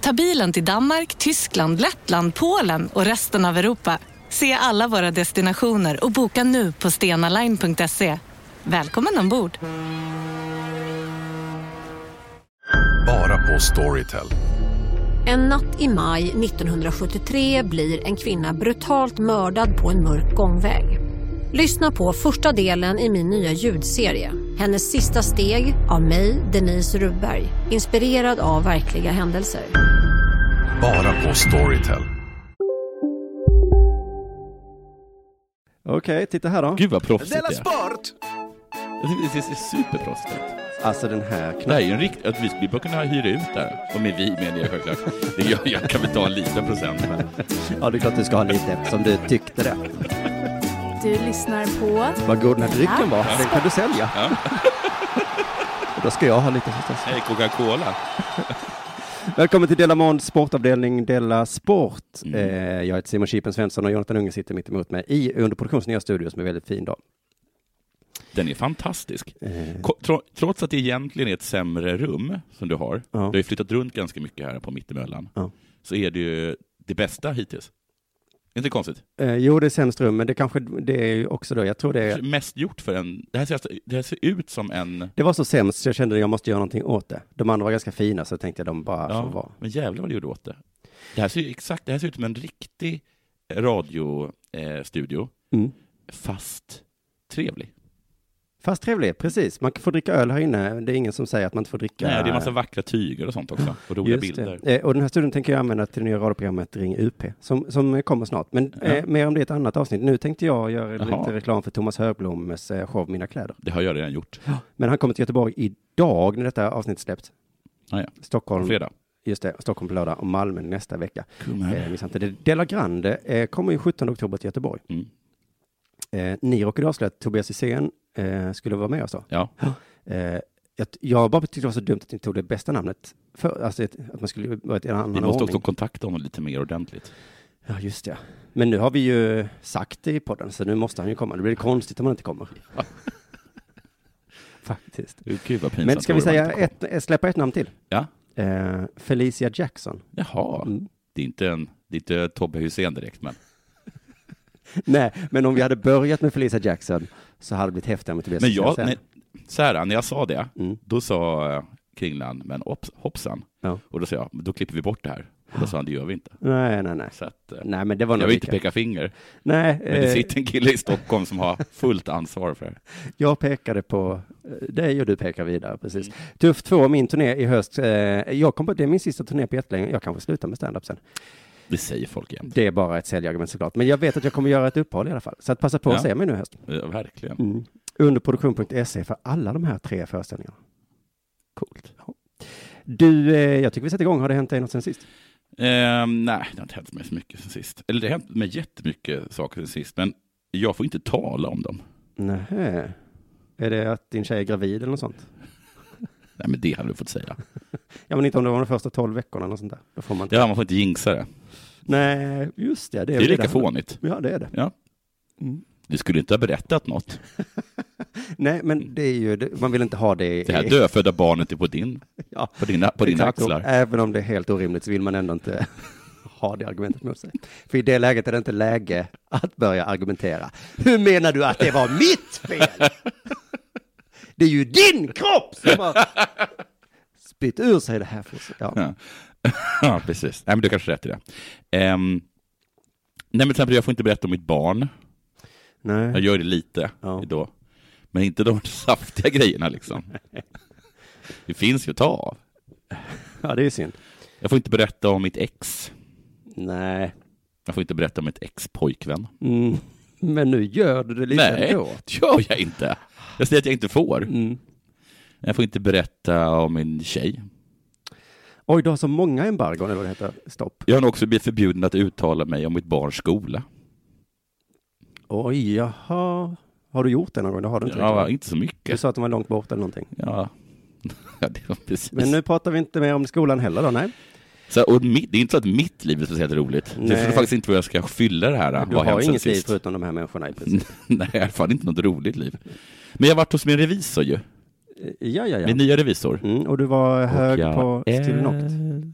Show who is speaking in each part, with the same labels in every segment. Speaker 1: Ta bilen till Danmark, Tyskland, Lettland, Polen och resten av Europa. Se alla våra destinationer och boka nu på stenaline.se. Välkommen ombord!
Speaker 2: Bara på Storytel.
Speaker 3: En natt i maj 1973 blir en kvinna brutalt mördad på en mörk gångväg. Lyssna på första delen i min nya ljudserie. Hennes sista steg av mig, Denise Rubberg. Inspirerad av verkliga händelser.
Speaker 2: Bara på Storytel.
Speaker 4: Okej, titta här då.
Speaker 5: Gud vad proffsigt
Speaker 6: Della
Speaker 5: det är.
Speaker 6: Sport!
Speaker 5: Jag tycker Det ser superproffsigt ut.
Speaker 4: Alltså den här
Speaker 5: Det här
Speaker 4: knappen.
Speaker 5: är ju en riktig... Att vi, vi bör kunna hyra ut det här. Och med vi menar jag självklart. Jag, jag kan väl ta en liten procent, men...
Speaker 4: Ja, det är klart du ska ha lite eftersom du tyckte det.
Speaker 7: Du lyssnar på
Speaker 4: Vad god den här drycken var, den kan du sälja. Då ska jag ha lite förstås.
Speaker 5: Nej, Coca-Cola.
Speaker 4: Välkommen till Della Månds sportavdelning Della Sport.
Speaker 5: Mm.
Speaker 4: Eh, jag heter Simon Chipen Svensson och Jonathan Unge sitter mitt emot mig i Underproduktions nya studio som är väldigt fin då.
Speaker 5: Den är fantastisk.
Speaker 4: Eh,
Speaker 5: Ko- tro- Trots att det egentligen är ett sämre rum som du har,
Speaker 4: Ja.
Speaker 5: du har ju flyttat runt ganska mycket här på mittemellan,
Speaker 4: Ja.
Speaker 5: så är det ju det bästa hittills. Inte konstigt.
Speaker 4: eh, jo, det är sämst rum, men det kanske det är ju också då, jag tror det är,
Speaker 5: Mest gjort för en... Det här, ser, alltså- det här ser ut som en...
Speaker 4: det var så sämst så jag kände att jag måste göra någonting åt det. De andra var ganska fina så tänkte jag de bara får vara.
Speaker 5: men jävlar vad du gjorde åt det. Det här ser, ju exakt, det här ser ut som en riktig radiostudio, eh, studio,
Speaker 4: Mm.
Speaker 5: fast trevlig.
Speaker 4: Fast trevlig, precis. Man får dricka öl här inne. Det är ingen som säger att man inte får dricka.
Speaker 5: Nej, det är en massa vackra tyger och sånt också, och roliga
Speaker 4: Just
Speaker 5: bilder.
Speaker 4: det. Eh, Och den här studion tänker jag använda till det nya radioprogrammet Ring UP, som, som eh, kommer snart. Men eh, mer om det i ett annat avsnitt. Nu tänkte jag göra
Speaker 5: Jaha.
Speaker 4: lite reklam för Thomas Högbloms eh, show Mina kläder.
Speaker 5: Det har jag redan gjort.
Speaker 4: Men han kommer till Göteborg idag när detta avsnitt släpps.
Speaker 5: Ah, ja.
Speaker 4: Stockholm,
Speaker 5: Fredag.
Speaker 4: just det, Stockholm på lördag och Malmö nästa vecka.
Speaker 5: Kom
Speaker 4: Eh,
Speaker 5: här.
Speaker 4: missa inte det. Della Grande eh, kommer ju 17 oktober till Göteborg.
Speaker 5: Mm.
Speaker 4: Eh, ni råkade avslöja att Tobias Hysén eh, skulle vara med oss då.
Speaker 5: Ja.
Speaker 4: Eh, jag, jag bara tyckte det var så dumt att ni tog det bästa namnet. För, alltså ett, att man skulle vara ett, en annan
Speaker 5: Vi måste
Speaker 4: ordning.
Speaker 5: också kontakta honom lite mer ordentligt.
Speaker 4: Ja, just det. Men nu har vi ju sagt det i podden, så nu måste han ju komma. Det blir konstigt om han inte kommer. Faktiskt.
Speaker 5: Gud vad pinsamt.
Speaker 4: Men ska vi
Speaker 5: det var
Speaker 4: säga
Speaker 5: att inte
Speaker 4: ett, eh, släppa ett namn till?
Speaker 5: Ja.
Speaker 4: Eh, Felicia Jackson.
Speaker 5: kom. Jaha,
Speaker 4: Mm.
Speaker 5: det är inte, en, det är inte Tobbe Hysén direkt, men
Speaker 4: Nej, men om vi hade börjat med Felicia Jackson så hade det blivit häftigare med Tobias
Speaker 5: Men jag,
Speaker 4: Hysén.
Speaker 5: nej, så här, när jag sa det,
Speaker 4: Mm.
Speaker 5: då sa eh, Kringlan, men hopps, hoppsan.
Speaker 4: Ja.
Speaker 5: Och då sa jag, då klipper vi bort det här. Och då sa han, det gör vi inte.
Speaker 4: nej, nej, nej.
Speaker 5: Så att, eh,
Speaker 4: Nej, men det var
Speaker 5: jag
Speaker 4: nog
Speaker 5: vill inte
Speaker 4: lika.
Speaker 5: peka finger,
Speaker 4: Nej,
Speaker 5: men det
Speaker 4: eh,
Speaker 5: sitter en kille i Stockholm som har fullt ansvar för det här.
Speaker 4: Jag pekade på eh, dig och du pekar vidare, precis.
Speaker 5: Mm.
Speaker 4: Tuff 2, min turné i höst. Eh, jag kom på, det är min sista turné på jättelänge. Jag kanske slutar med stand-up sen.
Speaker 5: Det säger folk igen.
Speaker 4: Det är bara ett säljargument såklart. Men jag vet att jag kommer göra ett uppehåll i alla fall. Så att passa på att
Speaker 5: Ja.
Speaker 4: se mig nu i höst.
Speaker 5: Ja, verkligen.
Speaker 4: Mm. Underproduktion.se E för alla de här tre föreställningarna.
Speaker 5: Coolt.
Speaker 4: Du, eh, jag tycker vi sätter igång. Har det hänt dig något sen sist?
Speaker 5: Ehm, nej, det har inte hänt mig så mycket sen sist. Eller det har hänt mig jättemycket saker sen sist, men jag får inte tala om dem.
Speaker 4: Nähä. Är det att din tjej är gravid eller något sånt?
Speaker 5: Nej, men det hade du fått säga.
Speaker 4: Ja, men inte om det var de första tolv veckorna eller något sånt där. Då får man inte.
Speaker 5: Ja, man får inte jinxa det.
Speaker 4: Nej, just det. Det
Speaker 5: Det
Speaker 4: är,
Speaker 5: är ju
Speaker 4: väl
Speaker 5: lika
Speaker 4: det handlar om.
Speaker 5: fånigt.
Speaker 4: Ja, det är det.
Speaker 5: Ja.
Speaker 4: Mm.
Speaker 5: Du skulle inte ha berättat något.
Speaker 4: Nej, men det är ju, det- man vill inte ha det i...
Speaker 5: Det här dödfödda barnet är på, din,
Speaker 4: Ja.
Speaker 5: på dina, på dina
Speaker 4: Exakt, och
Speaker 5: axlar.
Speaker 4: Även om det är helt orimligt så vill man ändå inte ha det argumentet mot sig. För i det läget är det inte läge att börja argumentera. Hur menar du att det var mitt fel? Det är ju din kropp som har spytt ur sig det här. fosset. Ja.
Speaker 5: Ja. ja, precis. Nej, men du har kanske rätt i det. Ehm, nej, men till exempel, jag får inte berätta om mitt barn. Jag
Speaker 4: Nej.
Speaker 5: gör det lite
Speaker 4: Ja.
Speaker 5: då. Men inte de saftiga grejerna liksom. Det finns ju att ta av.
Speaker 4: ja, det är ju synd.
Speaker 5: Jag får inte berätta om mitt ex.
Speaker 4: Nej,
Speaker 5: Jag får inte berätta om mitt ex-pojkvän.
Speaker 4: mm. men nu gör du det lite
Speaker 5: Nej,
Speaker 4: ändå.
Speaker 5: det gör jag inte. Jag säger att jag inte får.
Speaker 4: Mm.
Speaker 5: Jag får inte berätta om min tjej.
Speaker 4: Oj, du har så många embargon, eller vad det heter. Stopp.
Speaker 5: Jag har nog också blivit förbjuden att uttala mig om mitt barns skola.
Speaker 4: Oj, jaha. Har du gjort det någon gång? Det har du inte.
Speaker 5: Ja,
Speaker 4: riktigt.
Speaker 5: inte så
Speaker 4: du
Speaker 5: mycket.
Speaker 4: sa att de var långt borta eller någonting.
Speaker 5: Ja. Ja, det var precis.
Speaker 4: Men nu pratar vi inte mer om skolan heller då, nej.
Speaker 5: Så, och mitt, det är inte så att mitt liv är speciellt roligt. Så Jag
Speaker 4: Nej.
Speaker 5: förstår faktiskt inte vad jag ska fylla det här.
Speaker 4: Du har
Speaker 5: vad hänt sen
Speaker 4: inget liv
Speaker 5: sist.
Speaker 4: förutom de här människorna i princip.
Speaker 5: Nej, i alla fall inte något roligt liv. Men jag har varit hos min revisor ju.
Speaker 4: Ja, ja, ja.
Speaker 5: Min nya revisor.
Speaker 4: Mm, och du var hög
Speaker 5: Mm. Och
Speaker 4: på
Speaker 5: jag
Speaker 4: Stilinoct.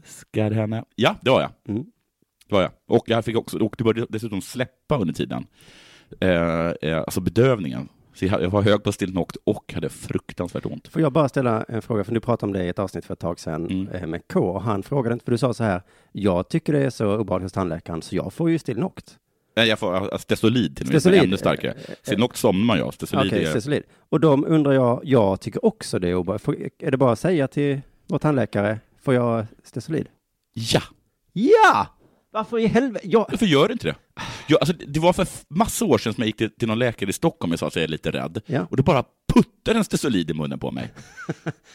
Speaker 5: älskar henne. Ja, det var jag.
Speaker 4: Mm.
Speaker 5: Det var jag. Och jag fick också, och det började dessutom släppa under tiden. Eh, eh, alltså bedövningen. Så jag jag var hög på Stilnoct och hade fruktansvärt ont.
Speaker 4: Får jag bara ställa en fråga, för du pratade om det i ett avsnitt för ett tag sedan
Speaker 5: Mm.
Speaker 4: eh, med K. Och han frågade inte, för du sa så här, jag tycker det är så obehagligt hos tandläkaren, så jag får ju Stilinoct.
Speaker 5: Nej, jag får alltså, Stesolid till och med, som är
Speaker 4: Stesolid.
Speaker 5: ännu starkare.
Speaker 4: Eh, eh,
Speaker 5: Stilnoct somnar jag, Stesolid
Speaker 4: Okej,
Speaker 5: är...
Speaker 4: Stesolid. Och de undrar jag, jag tycker också det är obehagligt. Får- Är det bara att säga till vår tandläkare, får jag Stesolid?
Speaker 5: Ja!
Speaker 4: Ja! Varför i helvete? Jag...
Speaker 5: Varför gör du inte det? Jag, alltså, det var för f- massa år sedan som jag gick till, till någon läkare i Stockholm och sa att jag är lite rädd.
Speaker 4: Ja.
Speaker 5: Och då bara puttade en Stesolid i munnen på mig.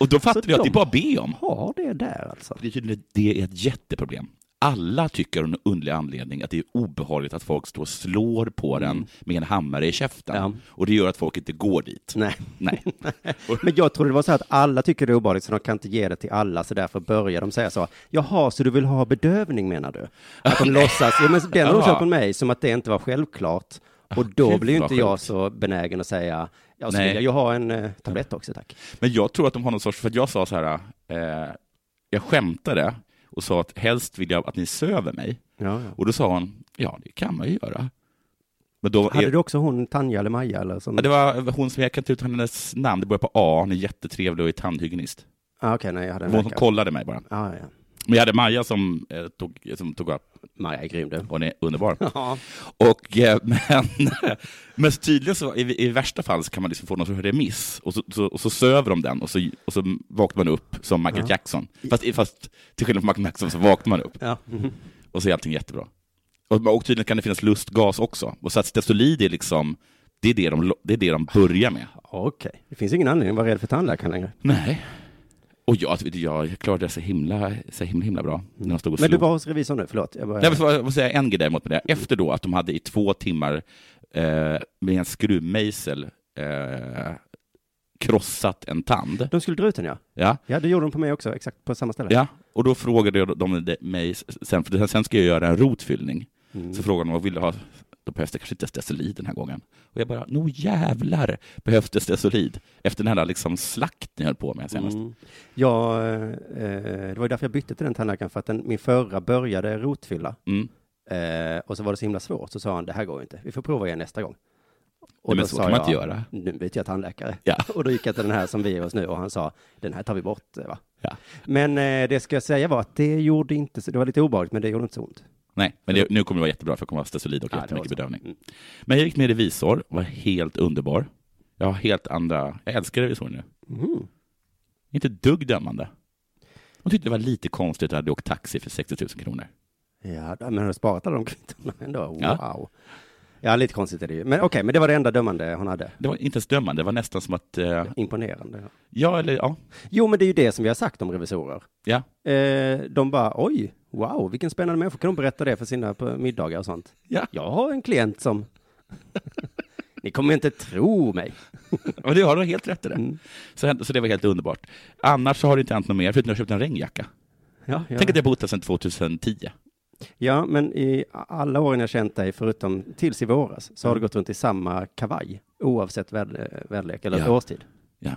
Speaker 5: Och då fattade
Speaker 4: Så
Speaker 5: jag att det
Speaker 4: de-
Speaker 5: är bara att be om.
Speaker 4: Har det där alltså?
Speaker 5: Det är tydligen- det är ett jätteproblem. Alla tycker av någon underlig anledning att det är obehagligt att folk står och slår på den med en hammare i käften.
Speaker 4: Mm. Ja.
Speaker 5: Och det gör att folk inte går dit.
Speaker 4: Nej.
Speaker 5: Nej.
Speaker 4: Men jag trodde det var så här att alla tycker det är obehagligt, så de kan inte ge det till alla, så därför börjar de säga så. Jaha, så du vill ha bedövning menar du? Att de låtsas, ja, men den har de
Speaker 5: Jaha. Ah,
Speaker 4: köpt på mig, som att det inte var självklart. Och då
Speaker 5: gud,
Speaker 4: blir ju
Speaker 5: vad
Speaker 4: inte jag
Speaker 5: sjukt.
Speaker 4: så benägen att säga, ja, så
Speaker 5: Nej.
Speaker 4: vill jag ju ha en eh, tablett också tack.
Speaker 5: Men jag tror att de har någon sorts, för att jag sa så här, eh, jag skämtade och sa att helst vill jag att ni söver mig.
Speaker 4: Ja, ja.
Speaker 5: Och då sa hon, ja det kan man ju göra. Men då,
Speaker 4: Hade du också hon Tanja eller Maja eller? Som...
Speaker 5: Ja, det var hon som, jag kan inte ut hennes namn, det börjar på A, hon är jättetrevlig och är tandhygienist.
Speaker 4: Ah, Okej, nej, jag hade en
Speaker 5: Hon som
Speaker 4: läkare.
Speaker 5: kollade mig bara.
Speaker 4: Ah, ja.
Speaker 5: Men jag hade Maja som eh, tog, som tog upp,
Speaker 4: Maja är grym du.
Speaker 5: hon är underbar.
Speaker 4: Ja.
Speaker 5: Och, eh, men, men tydligen så i, i värsta fall så kan man liksom få någon sorts remiss och så, så, och så söver de den och så, och så vaknar man upp som Michael
Speaker 4: Ja.
Speaker 5: Jackson. Fast, fast till skillnad från Michael Jackson så vaknar man upp
Speaker 4: Ja.
Speaker 5: och så är allting jättebra. Och, och tydligen kan det finnas lustgas också. Och så att Stesolid är liksom, det är det de, lo- det är det de börjar med.
Speaker 4: Ah, Okej, det finns ingen anledning att vara rädd för tandläkaren längre.
Speaker 5: Nej. Och jag, jag klarade det så himla, så himla, himla bra. När de stod och
Speaker 4: Men du
Speaker 5: slog
Speaker 4: var hos revisorn nu, förlåt. Jag bara...
Speaker 5: Nej, men får jag får säga en grej däremot med det. Efter då att de hade i två timmar eh, med en skruvmejsel eh, krossat en tand.
Speaker 4: De skulle dra ut den ja.
Speaker 5: Ja.
Speaker 4: Ja, det gjorde de på mig också, exakt på samma ställe.
Speaker 5: ja. Och då frågade jag de mig sen, för sen ska jag göra en rotfyllning.
Speaker 4: Mm.
Speaker 5: Så frågade de vad vill du ha? Då behövs det kanske inte stesolid den här gången. Och jag bara, no jävlar behövs det stesolid. Efter den här liksom slakt ni höll på med senast.
Speaker 4: Mm. Ja, eh, det var ju därför jag bytte till den tandläkaren, för att den, min förra började rotfylla.
Speaker 5: Mm.
Speaker 4: Eh, och så var det så himla svårt, så sa han, det här går ju inte, vi får prova igen nästa gång. Och
Speaker 5: Nej, men
Speaker 4: då
Speaker 5: så
Speaker 4: sa
Speaker 5: kan man inte göra.
Speaker 4: Nu byter jag tandläkare.
Speaker 5: Ja.
Speaker 4: Och då gick jag till den här som vi är hos nu och han sa, den här tar vi bort. eh, Va?
Speaker 5: Ja.
Speaker 4: Men eh, det ska jag säga var att det gjorde inte, så- det var lite obehagligt, men det gjorde inte så ont.
Speaker 5: Nej, men det, nu kommer det vara jättebra för jag kommer att ha stesolid och
Speaker 4: Ja, det
Speaker 5: jättemycket
Speaker 4: var så.
Speaker 5: bedövning.
Speaker 4: Mm.
Speaker 5: Men jag gick med revisor, var helt underbar. Jag har helt andra, jag älskar revisorer nu. Mm.
Speaker 4: Mhm.
Speaker 5: Inte ett dugg dömande. De tyckte det var lite konstigt att jag hade åkt taxi för 60 000 kronor.
Speaker 4: Ja, men har du sparat alla de kvittona ändå? Wow.
Speaker 5: Ja.
Speaker 4: Ja. lite konstigt är det ju. Men okej, men det var det enda dömande hon hade.
Speaker 5: Det var inte ens dömande, det var nästan som att, eh,
Speaker 4: Imponerande. ja.
Speaker 5: ja eller ja,
Speaker 4: Jo, men det är ju det som vi har sagt om revisorer.
Speaker 5: ja.
Speaker 4: Eh, de bara, oj, wow, vilken spännande människa. Kan de berätta det för sina på middagar och sånt?
Speaker 5: Ja.
Speaker 4: Jag har en klient som... Ni kommer inte tro mig.
Speaker 5: Men du har helt rätt i det. Så, så det var helt underbart. Annars så har det inte hänt något mer, förutom att jag köpte en regnjacka.
Speaker 4: Ja, ja.
Speaker 5: Tänk att jag bott här sedan 2010.
Speaker 4: ja, men i alla åren jag känt dig, förutom tills i våras, så har
Speaker 5: Mm.
Speaker 4: du gått runt i samma kavaj, oavsett väder, väderlek eller
Speaker 5: Ja.
Speaker 4: årstid.
Speaker 5: Ja.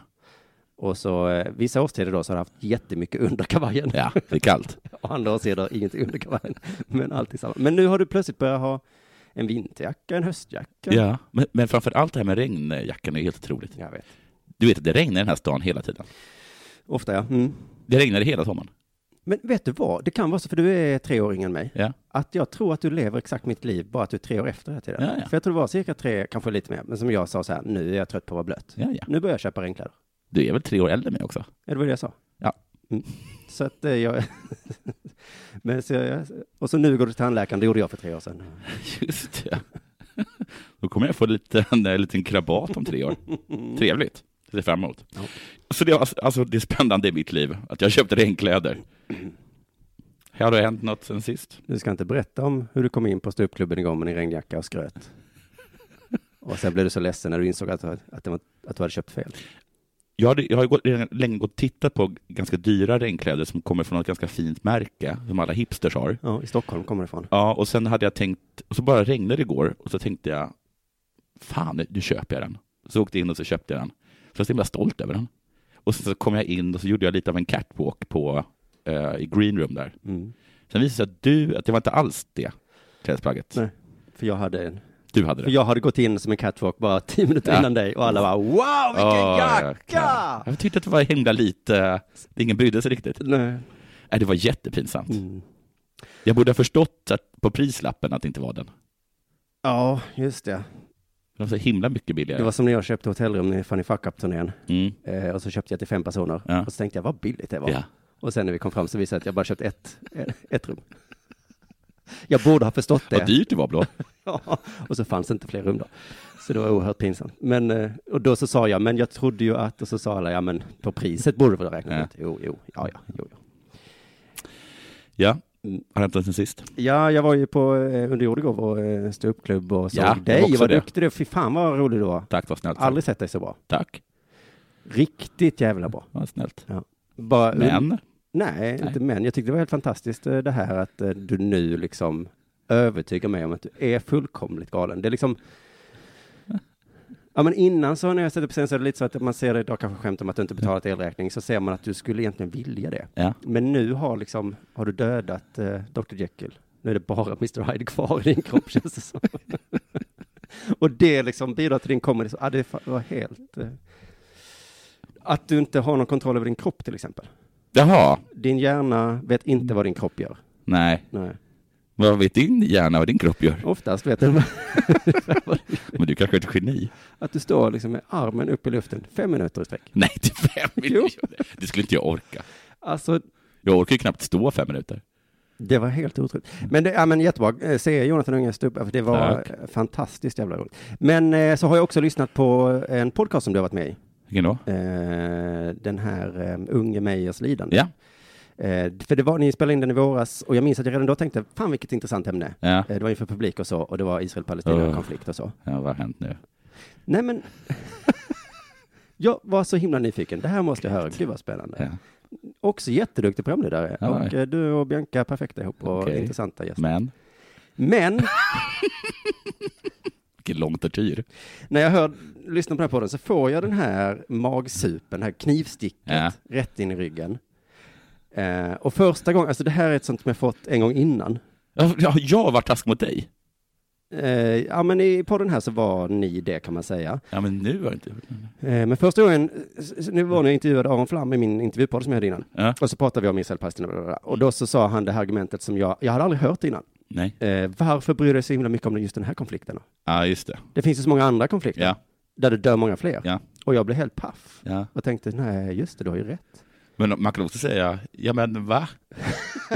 Speaker 4: Och så eh, vissa årstider då så har du haft jättemycket under kavajen.
Speaker 5: ja, det är kallt.
Speaker 4: Och andra årstider ingenting under kavajen. Men alltid samma. Men nu har du plötsligt börjat ha en vinterjacka, en höstjacka.
Speaker 5: ja. Men, men framför allt det här med regnjackan är helt otroligt.
Speaker 4: Jag vet.
Speaker 5: Du vet att det regnar i den här stan hela tiden.
Speaker 4: Ofta ja. Mm.
Speaker 5: Det regnade hela sommaren.
Speaker 4: Men vet du vad, det kan vara så, för du är tre år yngre än mig,
Speaker 5: Ja.
Speaker 4: att jag tror att du lever exakt mitt liv, bara att du är tre år efter hela tiden.
Speaker 5: Ja, ja.
Speaker 4: För jag tror det var cirka tre, kanske lite mer, men som jag sa så här, nu är jag trött på att vara blöt.
Speaker 5: Ja, ja.
Speaker 4: Nu börjar jag köpa regnkläder.
Speaker 5: Du är väl tre år äldre än mig också?
Speaker 4: Ja, det var det jag sa.
Speaker 5: Ja.
Speaker 4: Mm. Så att eh, jag... men så jag... Och så nu går du till tandläkaren, det gjorde jag för tre år sedan.
Speaker 5: Just det. Då kommer jag få lite, en liten krabat om tre år. Trevligt. Det ser jag fram emot. Så det, är alltså, alltså, det är spännande i mitt liv, att jag köpte regnkläder. Har det hänt något sen sist?
Speaker 4: Du ska inte berätta om hur du kom in på ståuppklubben igång med din regnjacka och skröt. Och sen blev du så ledsen när du insåg att, att, det var, att du hade köpt fel.
Speaker 5: Jag, hade, jag har ju gått, redan länge gått och tittat på ganska dyra regnkläder som kommer från ett ganska fint märke som alla hipsters har.
Speaker 4: Ja, i Stockholm kommer det ifrån.
Speaker 5: Ja, och sen hade jag tänkt, och så bara regnade det igår och så tänkte jag, fan, nu köper jag den. Så åkte jag in och så köpte jag den. Så jag var så himla stolt över den. Och sen så kom jag in och så gjorde jag lite av en catwalk på, eh, i green room där.
Speaker 4: Mm.
Speaker 5: Sen visade det sig att du, att det var inte alls det klädesplagget.
Speaker 4: Nej. För jag hade en.
Speaker 5: Du hade
Speaker 4: För
Speaker 5: det.
Speaker 4: jag hade gått in som en catwalk bara tio minuter
Speaker 5: Ja.
Speaker 4: innan dig och alla bara wow vilken
Speaker 5: Åh,
Speaker 4: jacka!
Speaker 5: ja. Jag tyckte att det var himla lite, det ingen brydde sig riktigt.
Speaker 4: Nej.
Speaker 5: Nej, det var jättepinsamt.
Speaker 4: Mm.
Speaker 5: Jag borde ha förstått att, på prislappen att det inte var den.
Speaker 4: Ja, just det.
Speaker 5: Den var så himla mycket billigare.
Speaker 4: Det var som när jag köpte hotellrum i Funny Fuck Up-turnén.
Speaker 5: Mm.
Speaker 4: Eh, och så köpte jag till fem personer.
Speaker 5: Ja.
Speaker 4: Och så tänkte jag vad billigt det var.
Speaker 5: Ja.
Speaker 4: Och sen när vi kom fram så visade det sig att jag bara köpt ett, eh, ett rum. Jag borde ha förstått det.
Speaker 5: Vad dyrt det var blå.
Speaker 4: Ja, och så fanns det inte fler rum då. Så det var oerhört pinsamt. Men, eh, och då så sa jag, men jag trodde ju att, och så sa alla, ja men på priset borde du väl räkna
Speaker 5: Ja.
Speaker 4: ut. Jo, jo, ja, ja, jo, jo.
Speaker 5: Ja, Mm, har hänt något sen sist?
Speaker 4: Ja, jag var ju på eh, Underjord igår, vår eh, ståuppklubb och såg
Speaker 5: Ja, det var
Speaker 4: dig.
Speaker 5: också
Speaker 4: Vad
Speaker 5: det.
Speaker 4: duktig du är. Fy fan vad rolig du var.
Speaker 5: Tack, vad snällt. sagt.
Speaker 4: Aldrig sett dig så bra.
Speaker 5: Tack,
Speaker 4: Riktigt jävla bra.
Speaker 5: vad snällt.
Speaker 4: Bara,
Speaker 5: Men,
Speaker 4: Nej,
Speaker 5: Nej.
Speaker 4: inte men. Jag tyckte det var helt fantastiskt eh, det här att eh, du nu liksom övertygar mig om att du är fullkomligt galen. Det är liksom Ja men innan så när jag satt upp scen så är det lite så att man ser det idag kanske skämt om att du inte betalat elräkning så ser man att du skulle egentligen vilja det.
Speaker 5: ja.
Speaker 4: Men nu har liksom, har du dödat eh, Dr Jekyll. Nu är det bara Mr Hyde kvar i din kropp känns det som. Och det liksom bidrar till din comedy. Så, ah, det fa- var helt... Eh, att du inte har någon kontroll över din kropp till exempel.
Speaker 5: Jaha,
Speaker 4: Din hjärna vet inte vad din kropp gör.
Speaker 5: nej.
Speaker 4: Nej.
Speaker 5: Vad vet din hjärna vad din kropp gör?
Speaker 4: Oftast vet den
Speaker 5: Men du kanske är ett geni?
Speaker 4: att du står liksom med armen upp i luften fem minuter i sträck.
Speaker 5: Nej, till fem minuter. Det skulle inte jag orka.
Speaker 4: Alltså,
Speaker 5: Jag orkar ju knappt stå fem minuter.
Speaker 4: det var helt otroligt. Men, det, ja, men jättebra. Eh, Se Jonathan Unge stå upp, för det var
Speaker 5: Tack.
Speaker 4: eh, fantastiskt jävla roligt. Men eh, så har jag också lyssnat på eh, en podcast som du har varit med i.
Speaker 5: Vilken då?
Speaker 4: Eh, den här eh, Unge Meyers lidande.
Speaker 5: Ja,
Speaker 4: Eh, för det var, ni spelade in den i våras och jag minns att jag redan då tänkte, fan vilket intressant ämne.
Speaker 5: ja.
Speaker 4: Eh, det var inför publik och så, och det var Israel-Palestina-konflikt och så.
Speaker 5: ja vad har hänt nu?
Speaker 4: Nej men, jag var så himla nyfiken. Det här måste jag höra. Gud vad spännande.
Speaker 5: Ja.
Speaker 4: Också jätteduktig programledare.
Speaker 5: Ja,
Speaker 4: och eh, du och Bianca är perfekta ihop och
Speaker 5: Okej.
Speaker 4: intressanta gäster.
Speaker 5: Men,
Speaker 4: Men
Speaker 5: vilken lång tortyr.
Speaker 4: när jag hör, lyssnar på den här podden så får jag den här magsupen, det här knivsticket
Speaker 5: Ja.
Speaker 4: rätt in i ryggen. Eh, och första gången, alltså det här är ett sånt som jag fått en gång innan.
Speaker 5: Ja, Jag har jag varit taskig mot dig?
Speaker 4: Eh, ja men i podden här så var ni det kan man säga.
Speaker 5: Ja, men nu har jag inte
Speaker 4: Eh, Men första gången, s- s- nu var när jag intervjuade Aron Flam i min intervjupodd som jag hade innan.
Speaker 5: Ja.
Speaker 4: Och så pratade vi om Israel Palestina. bla, bla, bla. Och då så sa han det här argumentet som jag, jag hade aldrig hört innan.
Speaker 5: Nej.
Speaker 4: Eh, varför bryr du dig så himla mycket om just den här konflikten? då?
Speaker 5: Ja, just det.
Speaker 4: Det finns ju så många andra konflikter
Speaker 5: Ja,
Speaker 4: där det dör många fler.
Speaker 5: Ja.
Speaker 4: Och jag blev helt paff.
Speaker 5: ja.
Speaker 4: Och tänkte, nej, just det, du har ju rätt.
Speaker 5: Men man kan också säga, ja men va?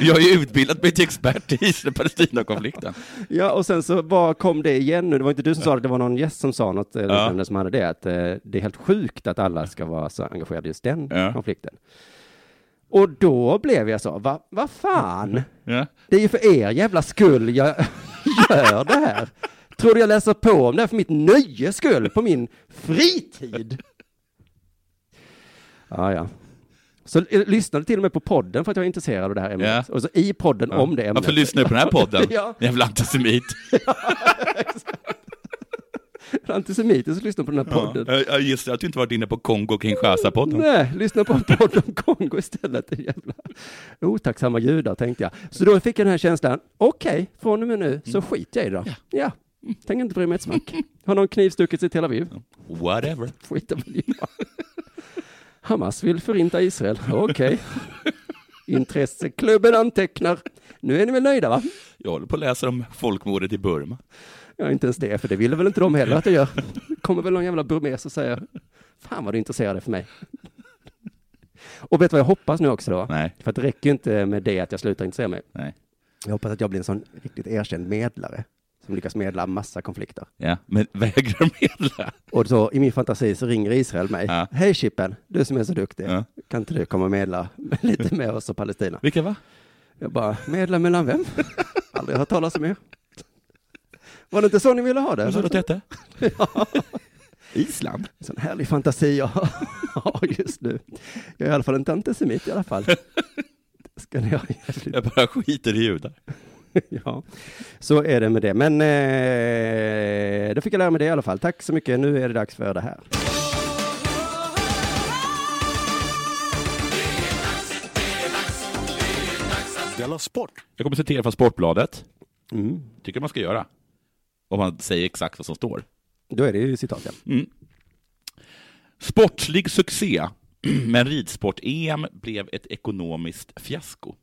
Speaker 5: jag har ju utbildat mig till expert i Israel-Palestina-konflikten.
Speaker 4: Ja, och sen så bara kom det igen nu. Det var inte du som sa det, det var någon gäst som sa något eh, liknande som hade det. Att eh, det är helt sjukt att alla ska vara så engagerade i just den
Speaker 5: Ja.
Speaker 4: konflikten. Och då blev jag så, vad va vad fan?
Speaker 5: Ja.
Speaker 4: Det är ju för er jävla skull jag gör det här. Tror du jag läser på om det här för mitt nöjes skull, på min fritid? Ja, ja. Så eh, lyssnade till och med på podden för att jag är intresserad av det här ämnet.
Speaker 5: Ja.
Speaker 4: Och så i podden om det ämnet.
Speaker 5: Varför lyssnar du på den här podden?
Speaker 4: Ja.
Speaker 5: Jävla antisemit.
Speaker 4: Antisemiter så lyssnar på den här podden.
Speaker 5: Ja, jag gissar att du inte varit inne på Kongo-Kinshasa-podden.
Speaker 4: Nej, lyssna på en podd om Kongo istället. Det jävla otacksamma judar, tänkte jag. Så då fick jag den här känslan, okej, från och med nu så skiter jag i det då. Ja, tänker inte bry mig ett smack. Har någon knivstuckits i Tel Aviv?
Speaker 5: Whatever.
Speaker 4: Skiter väl i det. Hamas vill förinta Israel, okej. Intresseklubben antecknar. Nu är ni väl nöjda va?
Speaker 5: Jag håller på att läsa om folkmordet i Burma.
Speaker 4: Ja, inte ens det, för det ville väl inte de heller att jag gör. kommer väl någon jävla burmes och säger, fan vad du intresserar dig för mig. Och vet du vad jag hoppas nu också då?
Speaker 5: Nej,
Speaker 4: För att det räcker ju inte med det att jag slutar intressera mig.
Speaker 5: nej.
Speaker 4: Jag hoppas att jag blir en sån riktigt erkänd medlare som lyckas medla massa konflikter.
Speaker 5: Ja, men vägrar medla.
Speaker 4: Och så i min fantasi så ringer Israel mig.
Speaker 5: Ja.
Speaker 4: Hej Chippen, du som är så duktig.
Speaker 5: Ja.
Speaker 4: kan inte du komma och medla lite med oss och Palestina?
Speaker 5: Vilka va?
Speaker 4: Jag bara, medla mellan vem? Aldrig hört talas om er. Var det inte så ni ville ha det?
Speaker 5: Vad sa du att det hette?
Speaker 4: Ja.
Speaker 5: Island?
Speaker 4: En sån härlig fantasi jag har just nu. Jag är i alla fall inte antisemit i alla fall. Ska ni ha jävligt.
Speaker 5: Jag bara skiter i judar.
Speaker 4: Ja, så är det med det. Men eh, då fick jag lära mig det i alla fall. Tack så mycket. Nu är det dags för det här.
Speaker 6: Della Sport!
Speaker 5: Jag kommer citera från Sportbladet.
Speaker 4: Mm.
Speaker 5: Tycker man ska göra. Om man säger exakt vad som står.
Speaker 4: Då är det ju citat, ja.
Speaker 5: Sportslig succé, men ridsport-EM blev ett ekonomiskt fiasko.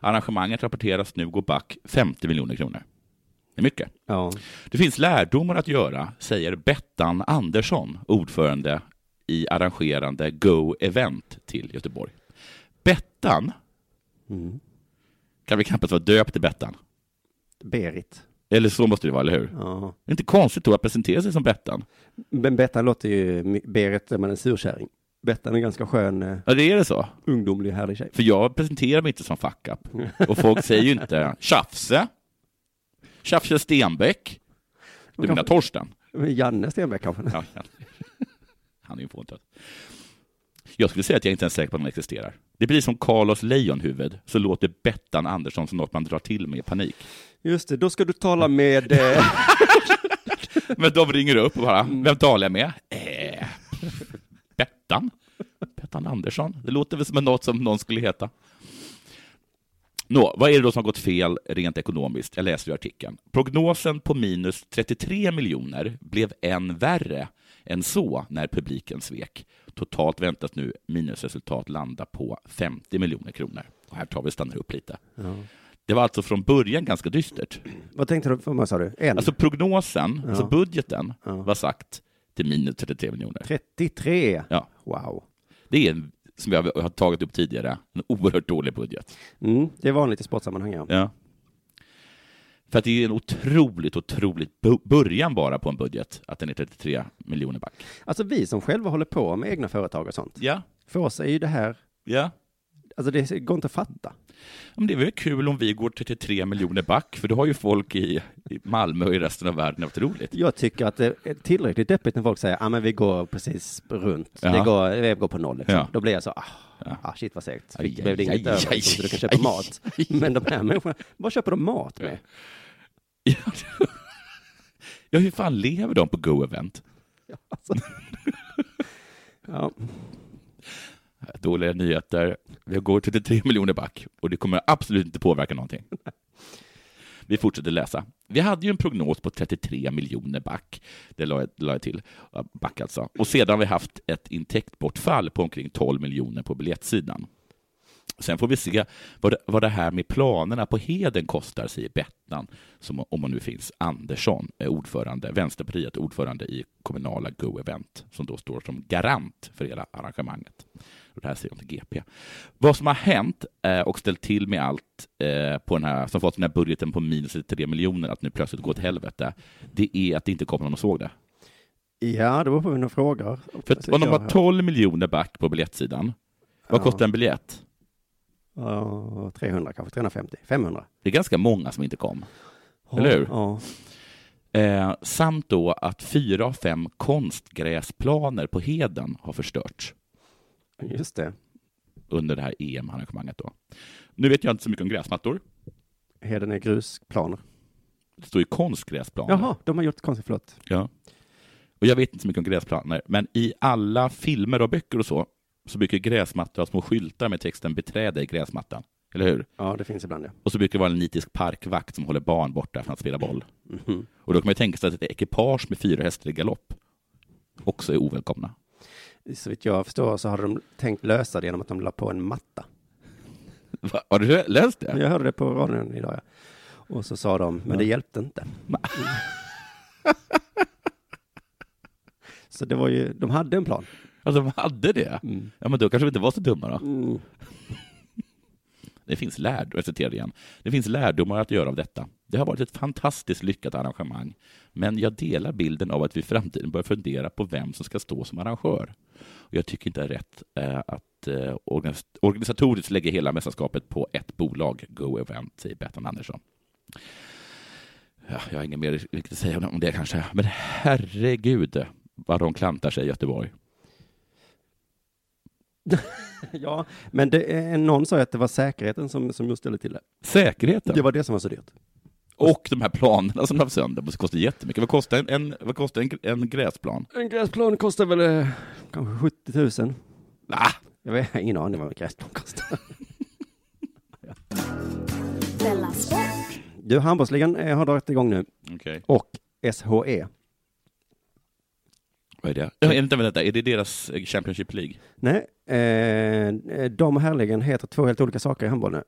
Speaker 5: Arrangemanget rapporteras nu gå back 50 miljoner kronor. Det är mycket.
Speaker 4: ja.
Speaker 5: Det finns lärdomar att göra, säger Bettan Andersson, ordförande i arrangerande Go Event till Göteborg. Bettan
Speaker 4: Mm.
Speaker 5: kan väl knappast vara döpt till Bettan?
Speaker 4: Berit.
Speaker 5: Eller så måste det vara, eller hur?
Speaker 4: Ja.
Speaker 5: Det är inte konstigt då att presentera sig som Bettan.
Speaker 4: Men Bettan låter ju, Berit är man en surkärring. Bettan är en ganska skön, eh,
Speaker 5: Ja, det är det så.
Speaker 4: ungdomlig, härlig tjej.
Speaker 5: För jag presenterar mig inte som fuck up. Och folk säger ju inte tjafse, tjafse Stenbeck. Du menar Torsten?
Speaker 4: Janne Stenbeck kanske?
Speaker 5: Ja, ja. Han är ju påtänd. Jag skulle säga att jag inte ens är säker på att han existerar. Det blir som Carlos Lejonhuvud, så låter Bettan Andersson som något man drar till med i panik.
Speaker 4: Just det, då ska du tala med, eh,
Speaker 5: Men de ringer upp och bara, vem talar jag med? Eh, Bettan? Bettan Andersson? Det låter väl som något som någon skulle heta. Nå, vad är det då som har gått fel rent ekonomiskt? Jag läser ju artikeln. Prognosen på minus 33 miljoner blev än värre än så när publiken svek. Totalt väntas nu minusresultat landa på 50 miljoner kronor. Och här tar vi och stannar upp lite. Det var alltså från början ganska dystert.
Speaker 4: vad tänkte du, vad sa du? En?
Speaker 5: Alltså prognosen, alltså budgeten,
Speaker 4: Ja.
Speaker 5: var sagt till minus 33 miljoner.
Speaker 4: 33?
Speaker 5: Ja.
Speaker 4: Wow.
Speaker 5: Det är, en- som jag har tagit upp tidigare, en oerhört dålig budget.
Speaker 4: Mm, det är vanligt i sportsammanhang, ja.
Speaker 5: Ja. För att det är en otroligt, otroligt bu- början bara på en budget, att den är 33 miljoner back.
Speaker 4: Alltså vi som själva håller på med egna företag och sånt.
Speaker 5: Ja,
Speaker 4: För oss är ju det här,
Speaker 5: ja.
Speaker 4: alltså det går inte att fatta.
Speaker 5: Men det är väl kul om vi går 33 miljoner back, för då har ju folk i, i Malmö och i resten av världen haft roligt.
Speaker 4: Jag tycker att det är tillräckligt deppigt när folk säger, ja ah, men vi går precis runt,
Speaker 5: Ja.
Speaker 4: det går, vi går på noll liksom.
Speaker 5: Ja.
Speaker 4: Då blir jag så, ah,
Speaker 5: Ja.
Speaker 4: ah shit vad segt,
Speaker 5: Aj,
Speaker 4: fick behövde
Speaker 5: aj,
Speaker 4: inget
Speaker 5: aj,
Speaker 4: över
Speaker 5: aj,
Speaker 4: så du kan
Speaker 5: aj,
Speaker 4: köpa
Speaker 5: aj.
Speaker 4: mat. Men de här människorna, vad köper de mat med?
Speaker 5: Ja, hur fan lever de på Go-event?
Speaker 4: Alltså. Ja,
Speaker 5: Dåliga nyheter. Vi går 33 miljoner back och det kommer absolut inte påverka någonting. Vi fortsätter läsa. Vi hade ju en prognos på 33 miljoner back. Det la jag, la jag till. Back alltså. Och sedan har vi haft ett intäktbortfall på omkring 12 miljoner på biljettsidan. Sen får vi se vad det, vad det här med planerna på Heden kostar, säger Bettan, som om hon nu finns, Andersson, är ordförande, Vänsterpartiet, ordförande i kommunala Go Event, som då står som garant för hela arrangemanget. Och det här säger hon till GP. Vad som har hänt eh, och ställt till med allt eh, på den här, som fått den här budgeten på minus 3 miljoner att nu plötsligt gå åt helvete, det är att det inte kom någon och såg det.
Speaker 4: ja det beror på hur de frågar.
Speaker 5: För att om de Alltså, har 12 miljoner back på biljettsidan, vad
Speaker 4: Alltså, Ja.
Speaker 5: kostar en biljett?
Speaker 4: Ja, 300 kanske, 350, 500.
Speaker 5: Det är ganska många som inte kom. Eller hur?
Speaker 4: Ja.
Speaker 5: Eh, samt då att fyra av fem konstgräsplaner på Heden har förstörts
Speaker 4: Just det.
Speaker 5: under det här EM-arrangemanget. Då. Nu vet jag inte så mycket om gräsmattor.
Speaker 4: Heden är grusplaner.
Speaker 5: Det står ju konstgräsplaner.
Speaker 4: Jaha, de har gjort konstigt, förlåt.
Speaker 5: Ja. Och jag vet inte så mycket om gräsplaner, men i alla filmer och böcker och så, så brukar gräsmattor ha små skyltar med texten beträda i gräsmattan. Eller hur?
Speaker 4: Ja, det finns ibland ja.
Speaker 5: Och så brukar det vara en nitisk parkvakt som håller barn borta från att spela boll. Och då kan man ju tänka sig att ett ekipage med fyra hästar i galopp också är ovälkomna.
Speaker 4: Så vitt jag förstår så har de tänkt lösa det genom att de la på en matta.
Speaker 5: Va? Har du läst det?
Speaker 4: Jag hörde det på radion idag. Ja. Och så sa de, men det hjälpte inte. Mm. så det var ju, de hade en plan.
Speaker 5: Alltså de hade det? Ja men då kanske vi inte var så dumma då. Det finns lärdomar, jag citerar igen. Det finns lärdomar att göra av detta. Det har varit ett fantastiskt lyckat arrangemang, men jag delar bilden av att vi i framtiden bör fundera på vem som ska stå som arrangör. Och jag tycker inte det är rätt eh, att eh, organis- organisatoriskt lägga hela mästerskapet på ett bolag, Go Event, säger Bettan Andersson. Ja, jag har inget mer riktigt att säga om det kanske, men herregud vad de klantar sig i Göteborg.
Speaker 4: Ja, men det, eh, någon sa ju att det var säkerheten som, som just ställde till det.
Speaker 5: Säkerheten
Speaker 4: Det var det som var så dyrt.
Speaker 5: och de här planerna som de har sönder det kostar jättemycket. Vad kostar en, en, vad kostar en, en gräsplan?
Speaker 4: En gräsplan kostar väl eh, kanske 70 000.
Speaker 5: Ah,
Speaker 4: Jag vet, jag har ingen aning vad en gräsplan kostar. Du, handbollsligan eh, har dragit igång nu
Speaker 5: okay.
Speaker 4: och E. SHE.
Speaker 5: Vad är det? Ja, vänta, vänta, är det deras eh, Championship League?
Speaker 4: Nej, eh, de och herrligan heter två helt olika saker i handboll nu.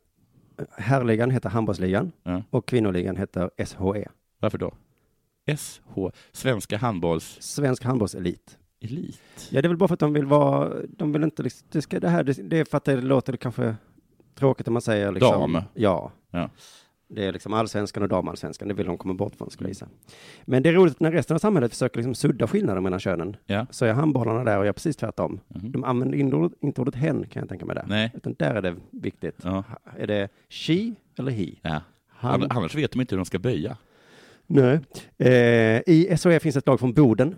Speaker 4: Herrligan heter handbollsligan
Speaker 5: Ja.
Speaker 4: och kvinnoligan heter E. SHE,
Speaker 5: Varför då? SH, Svenska Handbolls
Speaker 4: Svensk handbollselit.
Speaker 5: Elit.
Speaker 4: Ja, det är väl bara för att de vill vara, de vill inte liksom, det, ska, det här, det, det är för att det låter kanske tråkigt om man säger liksom.
Speaker 5: Dam.
Speaker 4: Ja.
Speaker 5: Ja.
Speaker 4: Det är liksom allsvenskan och damallsvenskan, det vill de komma bort från skulle jag gissa. Men det är roligt att när resten av samhället försöker liksom sudda skillnaden mellan könen.
Speaker 5: Ja.
Speaker 4: Så är handbollarna där och gör precis tvärtom. De använder inte ordet, inte ordet hen kan jag tänka mig där.
Speaker 5: Mhm. Nej.
Speaker 4: Utan där är det viktigt.
Speaker 5: Ja.
Speaker 4: Är det she eller he?
Speaker 5: Ja.
Speaker 4: Han.
Speaker 5: Ann- Annars vet de inte hur de ska böja.
Speaker 4: Nej. Eh, I SHE finns ett lag från Boden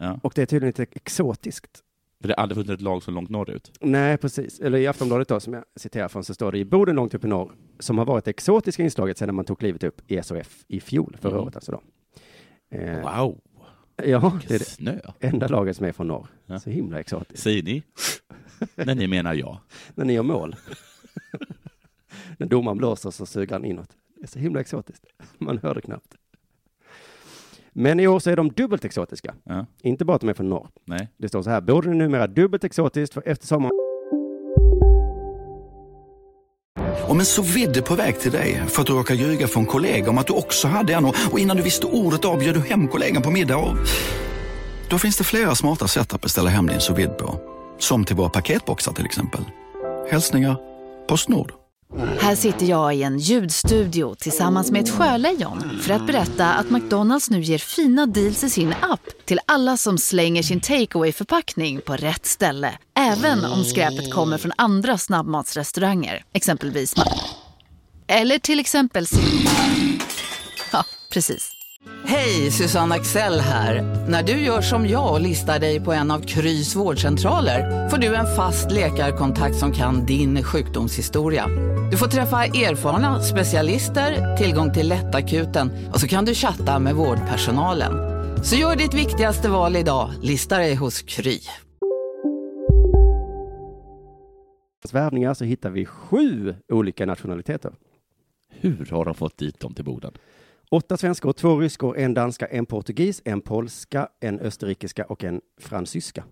Speaker 5: Ja.
Speaker 4: och det är tydligen lite exotiskt.
Speaker 5: För det har aldrig funnits ett lag så långt norrut.
Speaker 4: Nej, precis. Eller i Aftonbladet då, som jag citerar från, så står det i Boden långt upp i norr, som har varit det exotiska inslaget sedan man tog livet upp i SOF i fjol, förra
Speaker 5: Mm.
Speaker 4: året alltså då. Eh,
Speaker 5: Wow,
Speaker 4: Ja, det är det
Speaker 5: snö.
Speaker 4: enda laget som är från norr.
Speaker 5: Ja.
Speaker 4: Så himla exotiskt.
Speaker 5: Säger ni? När ni menar ja.
Speaker 4: När ni gör mål. När domaren blåser så suger han inåt. Det är så himla exotiskt. Man hör det knappt. Men i år så är de dubbelt exotiska.
Speaker 5: Ja.
Speaker 4: Inte bara att de är från norr.
Speaker 5: Nej.
Speaker 4: Det står så här, Boden är numera dubbelt exotiskt för efter sommaren
Speaker 8: Om en så vidde på väg till dig för att du råkar ljuga från kollega om att du också hade en och och innan du visste ordet av bjöd du hem kollegan på middag och... Då finns det flera smarta sätt att beställa hem din sous vide på. Som till våra paketboxar till exempel. Hälsningar Postnord.
Speaker 9: Här sitter jag i en ljudstudio tillsammans med ett sjölejon för att berätta att McDonalds nu ger fina deals i sin app till alla som slänger sin takeaway förpackning på rätt ställe. Även om skräpet kommer från andra snabbmatsrestauranger, exempelvis Ma- Eller till exempel Sim- Ja, precis.
Speaker 10: Hej, Susanne Axel här. När du gör som jag och listar dig på en av Krys vårdcentraler får du en fast läkarkontakt som kan din sjukdomshistoria. Du får träffa erfarna specialister, tillgång till lättakuten och så kan du chatta med vårdpersonalen. Så gör ditt viktigaste val idag, listar dig hos Kry.
Speaker 4: värvningar så hittar vi sju olika nationaliteter.
Speaker 5: Hur har de fått dit dem till Boden?
Speaker 4: Åtta svenskor, två ryskor, en danska, en portugis, en polska, en österrikiska och en fransyska.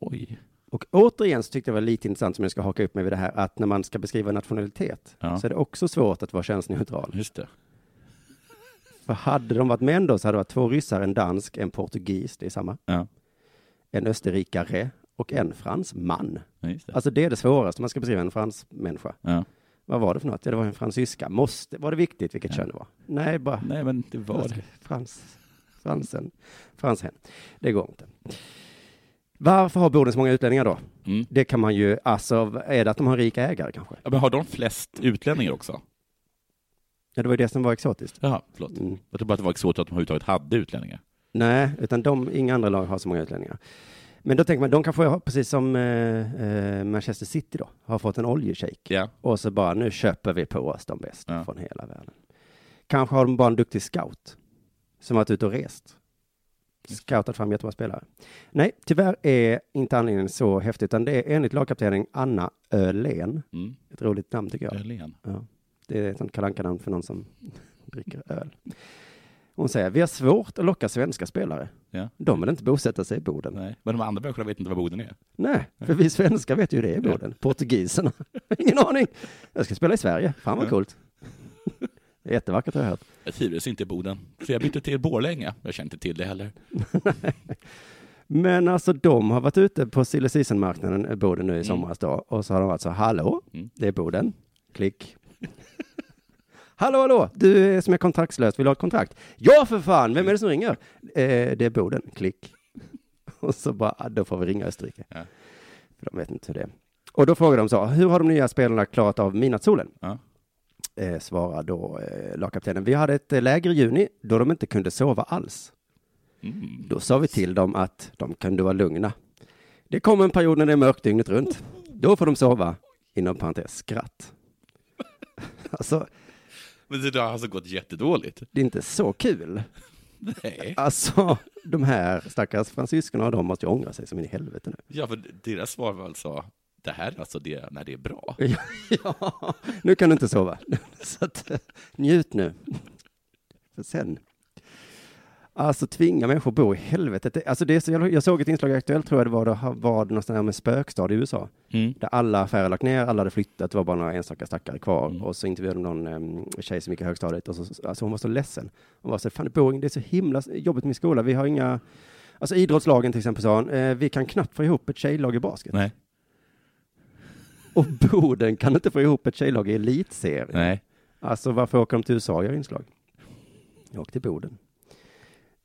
Speaker 5: Oj.
Speaker 4: Och återigen så tyckte jag det var lite intressant som jag ska haka upp mig vid det här att när man ska beskriva nationalitet
Speaker 5: Ja.
Speaker 4: så är det också svårt att vara könsneutral.
Speaker 5: Just det.
Speaker 4: För hade de varit män då så hade det varit två ryssar, en dansk, en portugis, det är samma,
Speaker 5: Ja.
Speaker 4: en österrikare och en fransman.
Speaker 5: Ja, just det.
Speaker 4: Alltså det är det svåraste man ska beskriva en fransmänniska.
Speaker 5: ja.
Speaker 4: Vad var det för något? Ja, det var en fransyska. Måste, var det viktigt vilket kön det var? Nej, bara
Speaker 5: Nej, men det var det.
Speaker 4: Frans, fransen, fransen. Det går inte. Varför har Boden så många utlänningar då?
Speaker 5: Mm.
Speaker 4: Det kan man ju, alltså är det att de har rika ägare kanske?
Speaker 5: Ja, Men har de flest utlänningar också?
Speaker 4: Ja, det var ju det som var exotiskt.
Speaker 5: Jaha, förlåt.
Speaker 4: Mm.
Speaker 5: Jag tror bara att det var exotiskt att de överhuvudtaget hade utlänningar.
Speaker 4: Nej, utan de, inga andra lag har så många utlänningar. Men då tänker man, de kanske har, precis som eh, eh, Manchester City då, har fått en oljeshejk.
Speaker 5: Ja.
Speaker 4: Och så bara, nu köper vi på oss de bästa
Speaker 5: Ja.
Speaker 4: från hela världen. Kanske har de bara en duktig scout som varit ute och rest. Scoutat fram jättebra spelare. Nej, tyvärr är inte anledningen så häftig, utan det är enligt lagkaptenen Anna Ölen.
Speaker 5: Mm.
Speaker 4: Ett roligt namn tycker jag.
Speaker 5: Öhlén.
Speaker 4: Det är ett sånt Kalle namn för någon som dricker öl. Hon säger, vi har svårt att locka svenska spelare.
Speaker 5: Ja.
Speaker 4: De vill inte bosätta sig i Boden. Nej,
Speaker 5: Nej. Men de andra människorna vet inte vad Boden är.
Speaker 4: för vi svenskar vet ju hur det är i Boden. Portugiserna, ingen aning. Jag ska spela i Sverige, fan vad
Speaker 5: Ja.
Speaker 4: coolt. Det är jättevackert har jag hört.
Speaker 5: Jag trivdes inte i Boden, så jag bytte till Borlänge. Jag kände inte till det heller.
Speaker 4: Men alltså de har varit ute på eh, sill marknaden Boden nu i somras då, och så har de varit så, hallå,
Speaker 5: Mm.
Speaker 4: det är Boden, klick. Hallå, hallå! Du eh, som är kontraktslös, vill du ha ett kontrakt? Ja, för fan! Vem är det som ringer? Eh, det är Boden, klick. Och så bara, ah, då får vi ringa Österrike. För de vet inte hur det är. Och då frågar de så, hur har de nya spelarna klarat av midnattssolen?
Speaker 5: Ja.
Speaker 4: Eh, svarar då eh, lagkaptenen, vi hade ett eh, läger i juni då de inte kunde sova alls. Då sa vi till dem att de kunde vara lugna. Det kommer en period när det är mörkt dygnet runt. Då får de sova, inom parentes skratt. alltså,
Speaker 5: Men det har alltså gått jättedåligt.
Speaker 4: det är inte så kul.
Speaker 5: Nej.
Speaker 4: Alltså, de här stackars fransyskorna, de måste ju ångra sig som in i helvete nu.
Speaker 5: Ja, för deras svar var alltså, det här är alltså det när det är bra.
Speaker 4: ja, nu kan du inte sova. Så att, eh, njut nu. För sen. Alltså tvinga människor att bo i helvetet. Det- Alltså det är så, jag, jag såg ett inslag i Aktuellt tror jag det var, det var det någonstans här med spökstad i USA.
Speaker 5: Mm.
Speaker 4: Där alla affärer lagt ner, alla hade flyttat, det var bara några enstaka stackare kvar.
Speaker 5: Mm.
Speaker 4: Och så intervjuade de någon um, tjej som gick i högstadiet och så, alltså hon var så ledsen. Hon var så, fan det, bor, ingen- det är så himla s- jobbigt med skola, vi har inga, alltså idrottslagen till exempel sa hon, eh, vi kan knappt få ihop ett tjejlag i basket.
Speaker 5: Nej.
Speaker 4: Och Boden kan inte få ihop ett tjejlag i elitserien.
Speaker 5: Nej.
Speaker 4: Alltså varför åker de till USA och gör inslag? Jag åkte till Boden.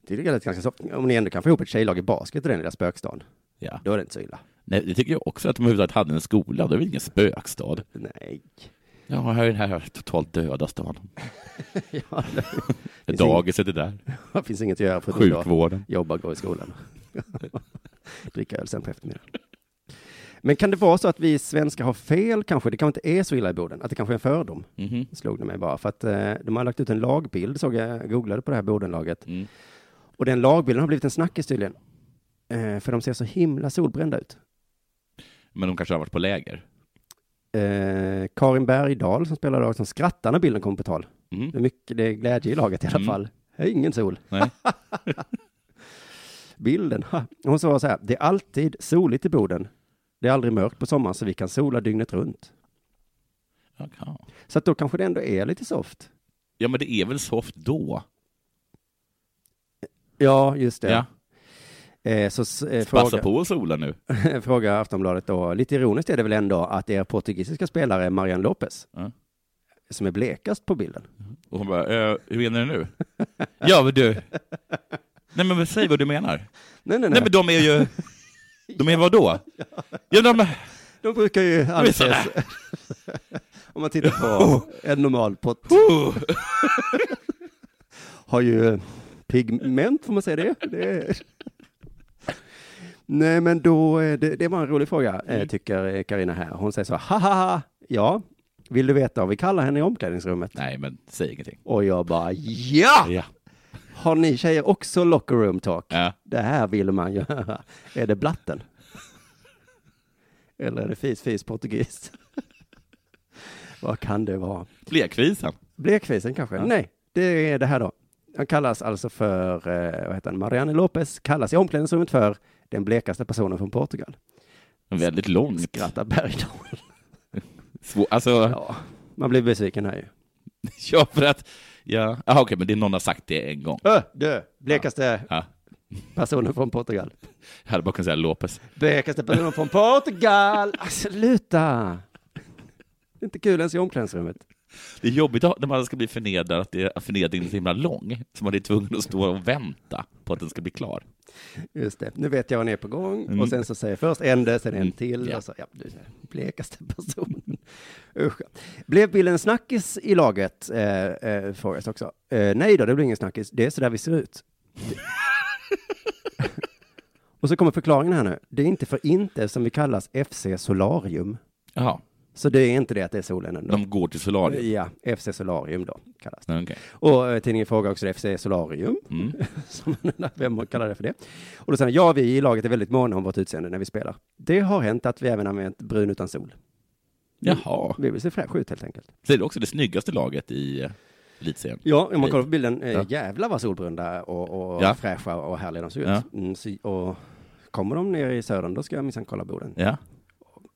Speaker 4: Det är ganska ganska så. Om ni ändå kan få ihop ett tjejlag i basket i den lilla spökstaden,
Speaker 5: Ja.
Speaker 4: då är det inte så illa.
Speaker 5: Nej, det tycker jag också att de överhuvudtaget hade en skola. Det är väl ingen spökstad?
Speaker 4: Nej.
Speaker 5: Ja, här är den här totalt döda staden.
Speaker 4: Ja, det finns
Speaker 5: Dagiset är där.
Speaker 4: inget- Det finns inget att göra förutom att
Speaker 5: Sjukvården.
Speaker 4: jobba och gå i skolan. Dricka öl sen på eftermiddagen. Men kan det vara så att vi svenskar har fel kanske? Det kanske inte är så illa i Boden, att det kanske är en fördom?
Speaker 5: Mhm.
Speaker 4: slog det mig bara. För att eh, de har lagt ut en lagbild, såg jag, jag googlade på det här Bodenlaget.
Speaker 5: Mm.
Speaker 4: Och den lagbilden har blivit en snackis tydligen. Eh, för de ser så himla solbrända ut.
Speaker 5: Men de kanske har varit på läger.
Speaker 4: Eh, Karin Bergdahl som spelar lag som skrattar när bilden kommer på tal.
Speaker 5: Mhm.
Speaker 4: Det är, mycket, det är glädje i laget i alla
Speaker 5: Mm.
Speaker 4: fall. Det är ingen sol.
Speaker 5: Nej.
Speaker 4: Bilden, ha. Hon sa så här, det är alltid soligt i Boden. Det är aldrig mörkt på sommaren så vi kan sola dygnet runt.
Speaker 5: Jaha.
Speaker 4: Så att då kanske det ändå är lite soft.
Speaker 5: Ja, men det är väl soft då?
Speaker 4: Ja, just det.
Speaker 5: Ja.
Speaker 4: Eh, så, s- eh,
Speaker 5: Passa
Speaker 4: fråga-
Speaker 5: på och sola nu.
Speaker 4: frågar Aftonbladet då, lite ironiskt är det väl ändå att er portugisiska spelare Marian Lopez,
Speaker 5: Ja.
Speaker 4: som är blekast på bilden.
Speaker 5: Och hon bara, eh, hur menar du nu? ja, men du. Nej, men säg vad du menar. Nej,
Speaker 4: Nej, nej, nej.
Speaker 5: men de är ju... De är vad då? Ja, de,
Speaker 4: De brukar ju
Speaker 5: de är
Speaker 4: anses,
Speaker 5: sådär.
Speaker 4: om man tittar på en normal pott, har ju pigment, får man säga det? det är... Nej, men då, eh, det, det var en rolig fråga, eh, tycker Karina här. Hon säger så här, haha, ja, vill du veta vad vi kallar henne i omklädningsrummet?
Speaker 5: Nej, men säg ingenting.
Speaker 4: Och jag bara, ja!
Speaker 5: Ja.
Speaker 4: Har ni tjejer också locker room talk?
Speaker 5: Ja.
Speaker 4: Det här vill man göra. Är det blatten? Eller är det fis, fis portugis? Vad kan det vara?
Speaker 5: Blekvisen.
Speaker 4: Blekfisen kanske? Nej, det är det här då. Han kallas alltså för, eh, vad heter han, Marianne Lopez kallas i omklädningsrummet för den blekaste personen från Portugal.
Speaker 5: En Väldigt långt.
Speaker 4: Skrattar Bergdahl.
Speaker 5: Svår, alltså,
Speaker 4: Ja, man blir besviken här ju.
Speaker 5: ja, för att... Ja, ah, okej, men det är någon har sagt det en gång.
Speaker 4: Ö, du, blekaste
Speaker 5: Ja.
Speaker 4: personen från Portugal.
Speaker 5: Jag hade bara kunnat säga Lopez.
Speaker 4: Blekaste personen från Portugal! Ah, Sluta! Det är inte kul ens i omklädningsrummet.
Speaker 5: Det är jobbigt att- när man ska bli förnedrad, att det- att förnedringen är så himla lång, så man är tvungen att stå och vänta på att den ska bli klar.
Speaker 4: Just det, nu vet jag vad ni är på gång.
Speaker 5: Mm.
Speaker 4: Och sen så säger jag först en det, sen en
Speaker 5: Mm,
Speaker 4: till.
Speaker 5: ja.
Speaker 4: Och så, ja, du är den blekaste personen. Usch. Blev bilden en snackis i laget? Eh, eh, frågas också. Eh, nej då, det blir ingen snackis. Det är så där vi ser ut. och så kommer förklaringen här nu. Det är inte för inte som vi kallas FC Solarium.
Speaker 5: Jaha,
Speaker 4: Så det är inte det att det är solen ändå.
Speaker 5: de går till solariet.
Speaker 4: Ja, FC Solarium då kallas det.
Speaker 5: Nej, okej.
Speaker 4: Och eh, tidningen frågar också det, FC Solarium.
Speaker 5: Mm.
Speaker 4: Som man undrar vem kallar det för det. Och då säger han, ja, vi i laget är väldigt måna om vårt utseende när vi spelar. Det har hänt att vi även använt brun utan sol.
Speaker 5: Jaha,
Speaker 4: Vi vill se fräscha ut helt enkelt.
Speaker 5: så är det också det snyggaste laget i eh, elitserien.
Speaker 4: Ja, om man kollar på bilden, eh,
Speaker 5: Ja.
Speaker 4: jävlar vad solbrunda och, och
Speaker 5: Ja.
Speaker 4: fräscha och härliga de ser ut.
Speaker 5: Ja.
Speaker 4: Mm, så, och kommer de ner i södern, då ska jag minsann kolla Boden.
Speaker 5: Ja,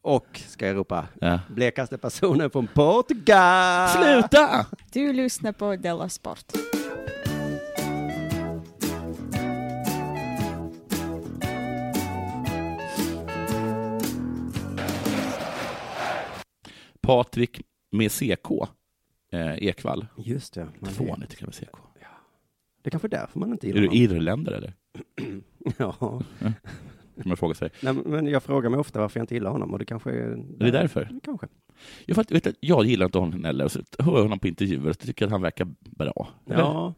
Speaker 4: Och ska jag ropa,
Speaker 5: ja.
Speaker 4: blekaste personen från Portugal!
Speaker 5: Sluta!
Speaker 11: Du lyssnar på Della Sport.
Speaker 5: Patrik med CK eh, Ekvall.
Speaker 4: Just det.
Speaker 5: Man Fånigt tycker jag med CK.
Speaker 4: Det är kanske är därför man inte
Speaker 5: Är
Speaker 4: gillar
Speaker 5: du
Speaker 4: honom.
Speaker 5: irländare eller?
Speaker 4: Ja.
Speaker 5: Kan man fråga sig.
Speaker 4: Nej, men jag frågar mig ofta varför jag inte gillar honom och det kanske är...
Speaker 5: Är det därför?
Speaker 4: Kanske.
Speaker 5: Jag, vet, vet, att jag gillar inte honom heller, och så hör jag honom på intervjuer och tycker att han verkar bra. Eller?
Speaker 4: Ja.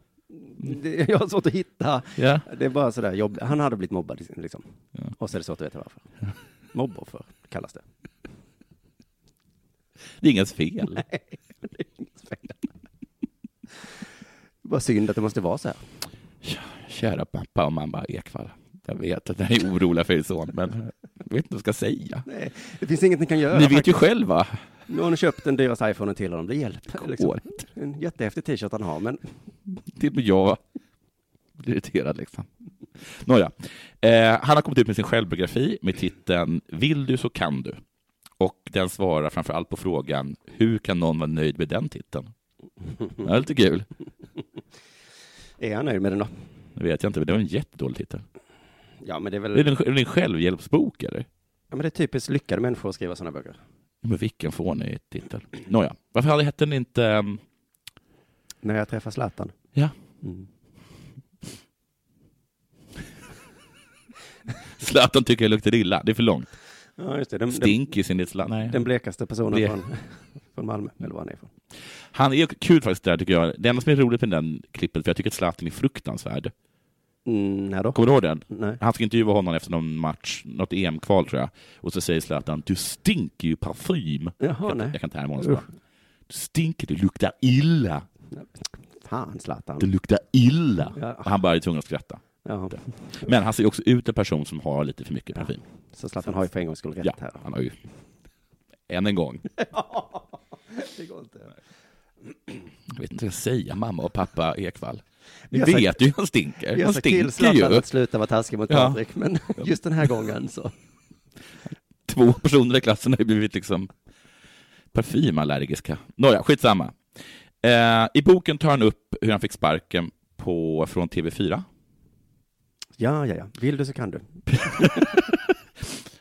Speaker 4: Det, jag har svårt att hitta.
Speaker 5: Ja.
Speaker 4: Det är bara sådär jobb. Han hade blivit mobbad liksom. Och så är det svårt att veta varför. Mobboffer kallas det.
Speaker 5: Det är ingens fel.
Speaker 4: Nej, det är ingens fel. Vad synd att det måste vara så här.
Speaker 5: Kära pappa och mamma Ekvall. Jag vet att ni är oroliga för er son, men jag vet inte vad jag ska säga.
Speaker 4: Nej, det finns inget ni kan göra.
Speaker 5: Ni vet ju
Speaker 4: faktiskt.
Speaker 5: själva.
Speaker 4: Nu har ni köpt den dyraste iPhonen till honom. Det hjälper. Liksom.
Speaker 5: Korrekt.
Speaker 4: En jättehäftig t-shirt han har, men
Speaker 5: Till och med jag blir irriterad liksom. Nåja. Eh, han har kommit ut med sin självbiografi med titeln Vill du så kan du. Och den svarar framför allt på frågan Hur kan någon vara nöjd med den titeln? Det är lite kul.
Speaker 4: är han nöjd med den då?
Speaker 5: Det vet jag inte, men det var en jättedålig titel.
Speaker 4: Ja, men det är
Speaker 5: Är
Speaker 4: väl...
Speaker 5: det en, är det en självhjälpsbok eller?
Speaker 4: Ja, men det är typiskt lyckade människor att skriva sådana böcker.
Speaker 5: Ja, Men vilken fånig titel. Nåja, varför hade hette den inte ehm,
Speaker 4: När jag träffar Zlatan.
Speaker 5: Ja.
Speaker 4: Mm.
Speaker 5: Zlatan tycker jag luktar illa? Det är för långt.
Speaker 4: Ja, just det. Den, den,
Speaker 5: Stinkis enligt Zlatan. Nej.
Speaker 4: den blekaste personen
Speaker 5: Blek.
Speaker 4: från, från Malmö, eller var han är ifrån.
Speaker 5: Han är kul faktiskt där tycker jag. Det enda som är roligt med den klippet, för jag tycker att Zlatan är fruktansvärd.
Speaker 4: Mm, när då?
Speaker 5: Kommer du ihåg den?
Speaker 4: Nej.
Speaker 5: Han ska intervjua honom efter någon match, något EM-kval tror jag. Och så säger Zlatan, du stinker ju parfym.
Speaker 4: Jaha,
Speaker 5: jag,
Speaker 4: nej.
Speaker 5: jag kan inte härma honom så bra. Du stinker, du luktar illa.
Speaker 4: Fan, Zlatan.
Speaker 5: Du luktar illa.
Speaker 4: Ja.
Speaker 5: Och han bara är tvungen att skratta.
Speaker 4: Ja,
Speaker 5: Men han ser också ut en person som har lite för mycket parfym.
Speaker 4: så Zlatan har ju för en gångs skull rätt
Speaker 5: Ja,
Speaker 4: här.
Speaker 5: han har ju... Än en gång.
Speaker 4: Det går inte.
Speaker 5: Jag vet inte vad jag ska säga, mamma och pappa Ekvall.
Speaker 4: Vi
Speaker 5: Ni
Speaker 4: har sagt-
Speaker 5: vet ju hur han stinker.
Speaker 4: Vi har
Speaker 5: Han
Speaker 4: sagt till
Speaker 5: stinker ju.
Speaker 4: Zlatan att sluta vara taskig mot
Speaker 5: Ja.
Speaker 4: Patrik, men just den här gången så.
Speaker 5: två personer i klassen har ju blivit liksom parfymallergiska. Nåja, skitsamma. Eh, I boken tar han upp hur han fick sparken på, från TV4,
Speaker 4: Ja, ja, ja. Vill du så kan du.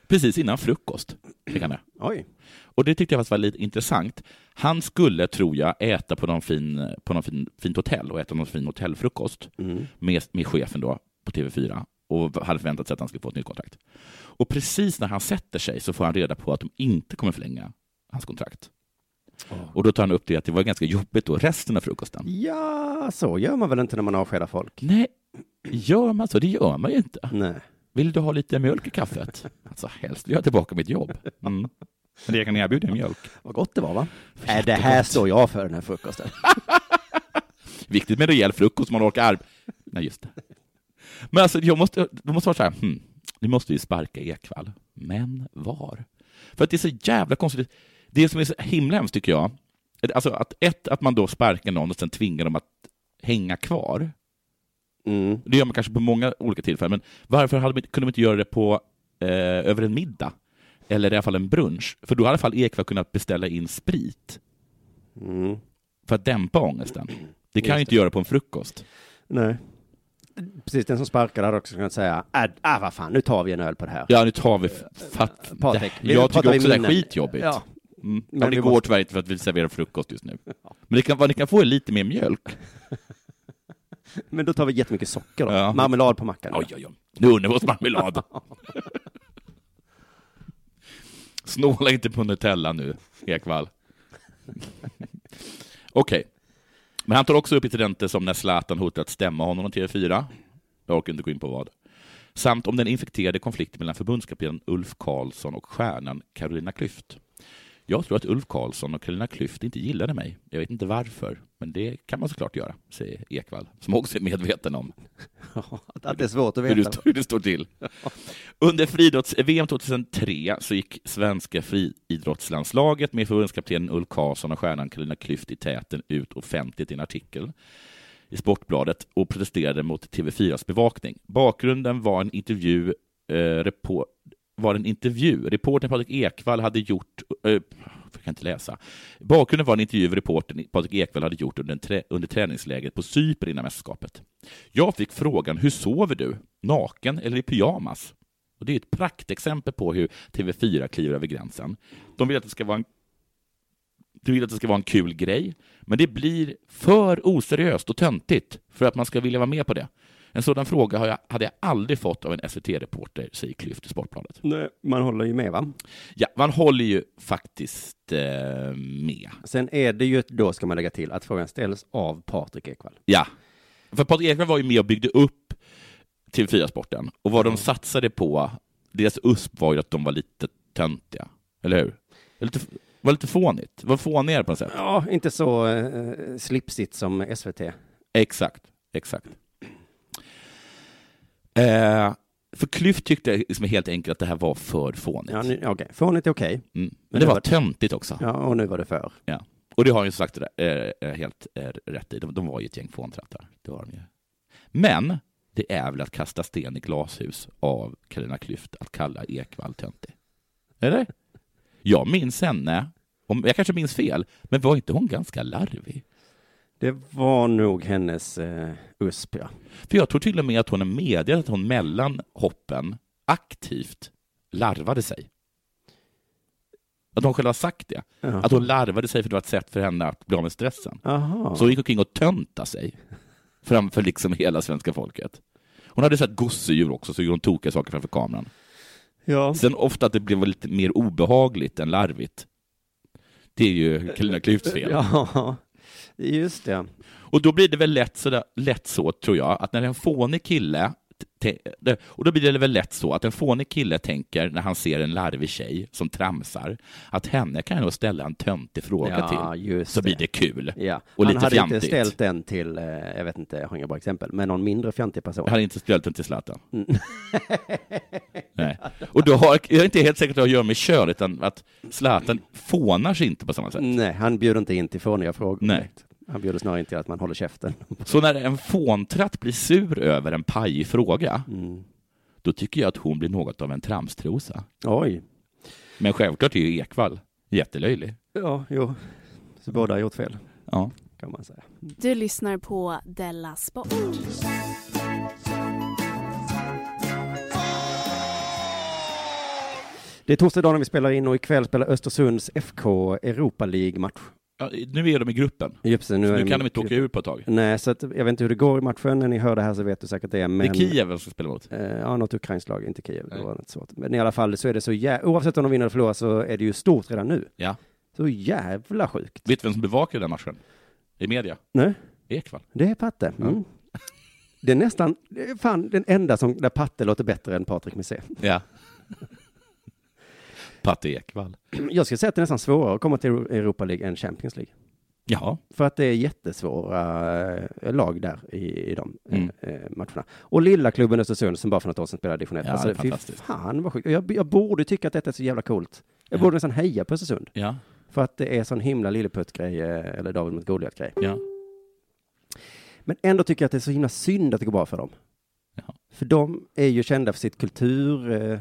Speaker 5: precis innan frukost. Fick han det.
Speaker 4: Oj.
Speaker 5: Och det tyckte jag faktiskt var lite intressant. Han skulle, tror jag, äta på någon fin, på någon fin, fint hotell och äta någon fin hotellfrukost
Speaker 4: Mm.
Speaker 5: med, med chefen då på TV4 och hade förväntat sig att han skulle få ett nytt kontrakt. Och precis när han sätter sig så får han reda på att de inte kommer förlänga hans kontrakt. Och då tar han upp det att det var ganska jobbigt då, resten av frukosten.
Speaker 4: Ja, så gör man väl inte när man avskedar folk?
Speaker 5: Nej, gör man så? Det gör man ju inte.
Speaker 4: Nej.
Speaker 5: Vill du ha lite mjölk i kaffet? Alltså helst vill jag ha tillbaka mitt jobb. Mm. Men det jag kan erbjuda är mjölk.
Speaker 4: Vad gott det var, va? Äh, det här står jag för den här frukosten.
Speaker 5: Viktigt med rejäl frukost, man orkar arb... Nej, just det. Men alltså, jag måste, det måste vara så här, hmm, nu måste vi sparka Ekvall. Men var? För att det är så jävla konstigt. Det som är så himla hemskt, tycker jag, alltså att ett, att man då sparkar någon och sen tvingar dem att hänga kvar.
Speaker 4: Mm.
Speaker 5: Det gör man kanske på många olika tillfällen, men varför hade de inte, kunde de inte göra det på eh, över en middag? Eller i alla fall en brunch? För då hade i alla fall Ekvall kunnat beställa in sprit
Speaker 4: Mm.
Speaker 5: för att dämpa ångesten. Det
Speaker 4: Just
Speaker 5: kan ju inte göra på en frukost.
Speaker 4: Nej. Precis, den som sparkade hade också kunnat säga, äh, ah, vad fan, nu tar vi en öl på det här.
Speaker 5: Ja, nu tar vi... Fatt,
Speaker 4: Eh, Patrik,
Speaker 5: det,
Speaker 4: vi
Speaker 5: jag
Speaker 4: pratar
Speaker 5: tycker också
Speaker 4: i
Speaker 5: det är
Speaker 4: minnen.
Speaker 5: skitjobbigt.
Speaker 4: Ja.
Speaker 5: Mm.
Speaker 4: Men
Speaker 5: Men det
Speaker 4: vi
Speaker 5: går
Speaker 4: måste-
Speaker 5: tyvärr inte för att vi serverar frukost just nu. Men det kan, vad ni kan få är lite mer mjölk.
Speaker 4: Men då tar vi jättemycket socker då.
Speaker 5: Ja.
Speaker 4: Marmelad på mackan.
Speaker 5: Oj, oj, oj. Nu underbåtsmarmelad. Snåla inte på Nutella nu, Ekvall. Okej. Men han tar också upp incidenter som när Zlatan hotar att stämma honom om TV4. Jag orkar inte gå in på vad. Samt om den infekterade konflikten mellan förbundskapten Ulf Karlsson och stjärnan Carolina Klüft. Jag tror att Ulf Karlsson och Carolina Klüft inte gillade mig. Jag vet inte varför, men det kan man såklart göra, säger Ekvall, som också är medveten om
Speaker 4: Att- Att det är svårt att
Speaker 5: hur
Speaker 4: veta.
Speaker 5: det, hur det står till. Under friidrotts-VM 2003 så gick svenska friidrottslandslaget med förbundskaptenen Ulf Karlsson och stjärnan Carolina Klüft i täten ut offentligt i en artikel i Sportbladet och protesterade mot TV4s bevakning. Bakgrunden var en intervju eh, repo- var en intervju. Reportern Patrik Ekwall hade gjort... eh, jag kan inte läsa. Bakgrunden var en intervju reportern Patrik Ekwall hade gjort under, en trä, under träningslägret på Cypern innan mästerskapet. Jag fick frågan hur sover du? Naken eller i pyjamas? Och det är ett praktexempel på hur TV4 kliver över gränsen. De vill att det ska vara en Du vill att det ska vara en kul grej, men det blir för oseriöst och töntigt för att man ska vilja vara med på det. En sådan fråga har jag, hade jag aldrig fått av en SVT-reporter, säger Klyft i Sportbladet.
Speaker 4: Nej, man håller ju med va?
Speaker 5: Ja, man håller ju faktiskt eh, med.
Speaker 4: Sen är det ju, då ska man lägga till, att frågan ställs av Patrik Ekwall.
Speaker 5: Ja, för Patrik Ekwall var ju med och byggde upp TV4-sporten och vad de satsade på, deras USP var ju att de var lite töntiga, eller hur? Det var lite, var lite fånigt, var fånigare på något sätt.
Speaker 4: Ja, inte så eh, slipsigt som SVT.
Speaker 5: Exakt, exakt. Eh, för Klyft tyckte liksom helt enkelt att det här var för fånigt.
Speaker 4: Ja, nu- okej. Fånigt är okej.
Speaker 5: Mm.
Speaker 4: Men
Speaker 5: Men det
Speaker 4: det
Speaker 5: var
Speaker 4: var-
Speaker 5: töntigt också.
Speaker 4: Ja, och nu var det för.
Speaker 5: Ja. Och det har han ju sagt eh, eh, helt eh, rätt i. De, de var ju ett gäng fåntrattar. Det var de ju. Men det är väl att kasta sten i glashus av Carina Klyft att kalla Ekwall töntig. Eller? Jag minns henne, om, jag kanske minns fel, men var inte hon ganska larvig?
Speaker 4: Det var nog hennes eh, USP, ja.
Speaker 5: För jag tror till och med att hon är medveten att hon mellan hoppen aktivt larvade sig. Att hon själv har sagt det.
Speaker 4: Jaha.
Speaker 5: Att hon larvade sig för det var ett sätt för henne att bli av med stressen.
Speaker 4: Jaha.
Speaker 5: Så hon gick omkring och tönta sig framför liksom hela svenska folket. Hon hade sett gosedjur också, så gjorde hon tokiga saker framför kameran.
Speaker 4: Ja.
Speaker 5: Sen ofta att det blev lite mer obehagligt än larvigt. Det är ju Carolina Klüfts fel.
Speaker 4: Ja, just det.
Speaker 5: Och då blir det väl lätt så, lätt så tror jag, att när en fånig kille te- det- och då blir det väl lätt så att en fånig kille tänker när han ser en larvig tjej som tramsar att henne kan jag nog ställa en töntig fråga
Speaker 4: Ja,
Speaker 5: till.
Speaker 4: just
Speaker 5: Så blir det kul.
Speaker 4: Ja.
Speaker 5: Och
Speaker 4: Han
Speaker 5: lite
Speaker 4: hade
Speaker 5: fjantigt.
Speaker 4: inte ställt den till, eh, jag vet inte, jag har inga bra exempel, men någon mindre fjantig person.
Speaker 5: Jag hade inte ställt den till Zlatan. Nej. Och då har, jag är inte helt säker på att det har att göra med kön, utan att Zlatan fånar sig inte på samma sätt.
Speaker 4: Nej, han bjuder inte in till fåniga frågor.
Speaker 5: Nej.
Speaker 4: direkt. Han bjuder snarare in till att man håller käften.
Speaker 5: Så när en fåntratt blir sur över en pajig fråga,
Speaker 4: Mm.
Speaker 5: då tycker jag att hon blir något av en tramstrosa.
Speaker 4: Oj.
Speaker 5: Men självklart är ju Ekvall jättelöjlig.
Speaker 4: Ja, jo. Så båda har gjort fel,
Speaker 5: Ja.
Speaker 4: kan man säga.
Speaker 7: Du lyssnar på Della Sport.
Speaker 4: Det är torsdag idag när vi spelar in och ikväll spelar Östersunds FK Europa League-match.
Speaker 5: Ja, nu är de i gruppen,
Speaker 4: Just det,
Speaker 5: så nu
Speaker 4: det
Speaker 5: kan de inte åka ur på ett tag.
Speaker 4: Nej, så att, jag vet inte hur det går i matchen. När ni hör det här så vet du säkert det. Men...
Speaker 5: Det är Kiev som spelar mot.
Speaker 4: Eh, ja, något ukrainskt lag, inte Kiev. Det var något svårt. Men i alla fall så är det så jä... Oavsett om de vinner eller förlorar så är det ju stort redan nu.
Speaker 5: Ja.
Speaker 4: Så jävla sjukt.
Speaker 5: Vet du vem som bevakar den matchen? I media?
Speaker 4: Nej,
Speaker 5: Ekvall.
Speaker 4: det är Patte. Mm. Det är nästan, det är fan den enda som, där Patte låter bättre än Patrik Missé.
Speaker 5: Ja. Patte Ekvall.
Speaker 4: Jag skulle säga att det är nästan svårare att komma till Europa League än Champions League.
Speaker 5: Jaha.
Speaker 4: För att det är jättesvåra eh, lag där i, i de eh,
Speaker 5: Mm.
Speaker 4: eh, matcherna. Och lilla klubben Östersund som bara för något år sedan spelade division 1.
Speaker 5: Ja, det är fantastiskt.
Speaker 4: Fy fan vad sjukt. Och Jag, jag borde tycka att detta är så jävla coolt. Jag
Speaker 5: Ja.
Speaker 4: borde nästan heja på Östersund.
Speaker 5: Ja.
Speaker 4: För att det är sån himla lilleputt-grej, eh, eller David mot Goliat-grej.
Speaker 5: Ja.
Speaker 4: Men ändå tycker jag att det är så himla synd att det går bra för dem.
Speaker 5: Jaha.
Speaker 4: För de är ju kända för sitt kulturengagemang. Eh,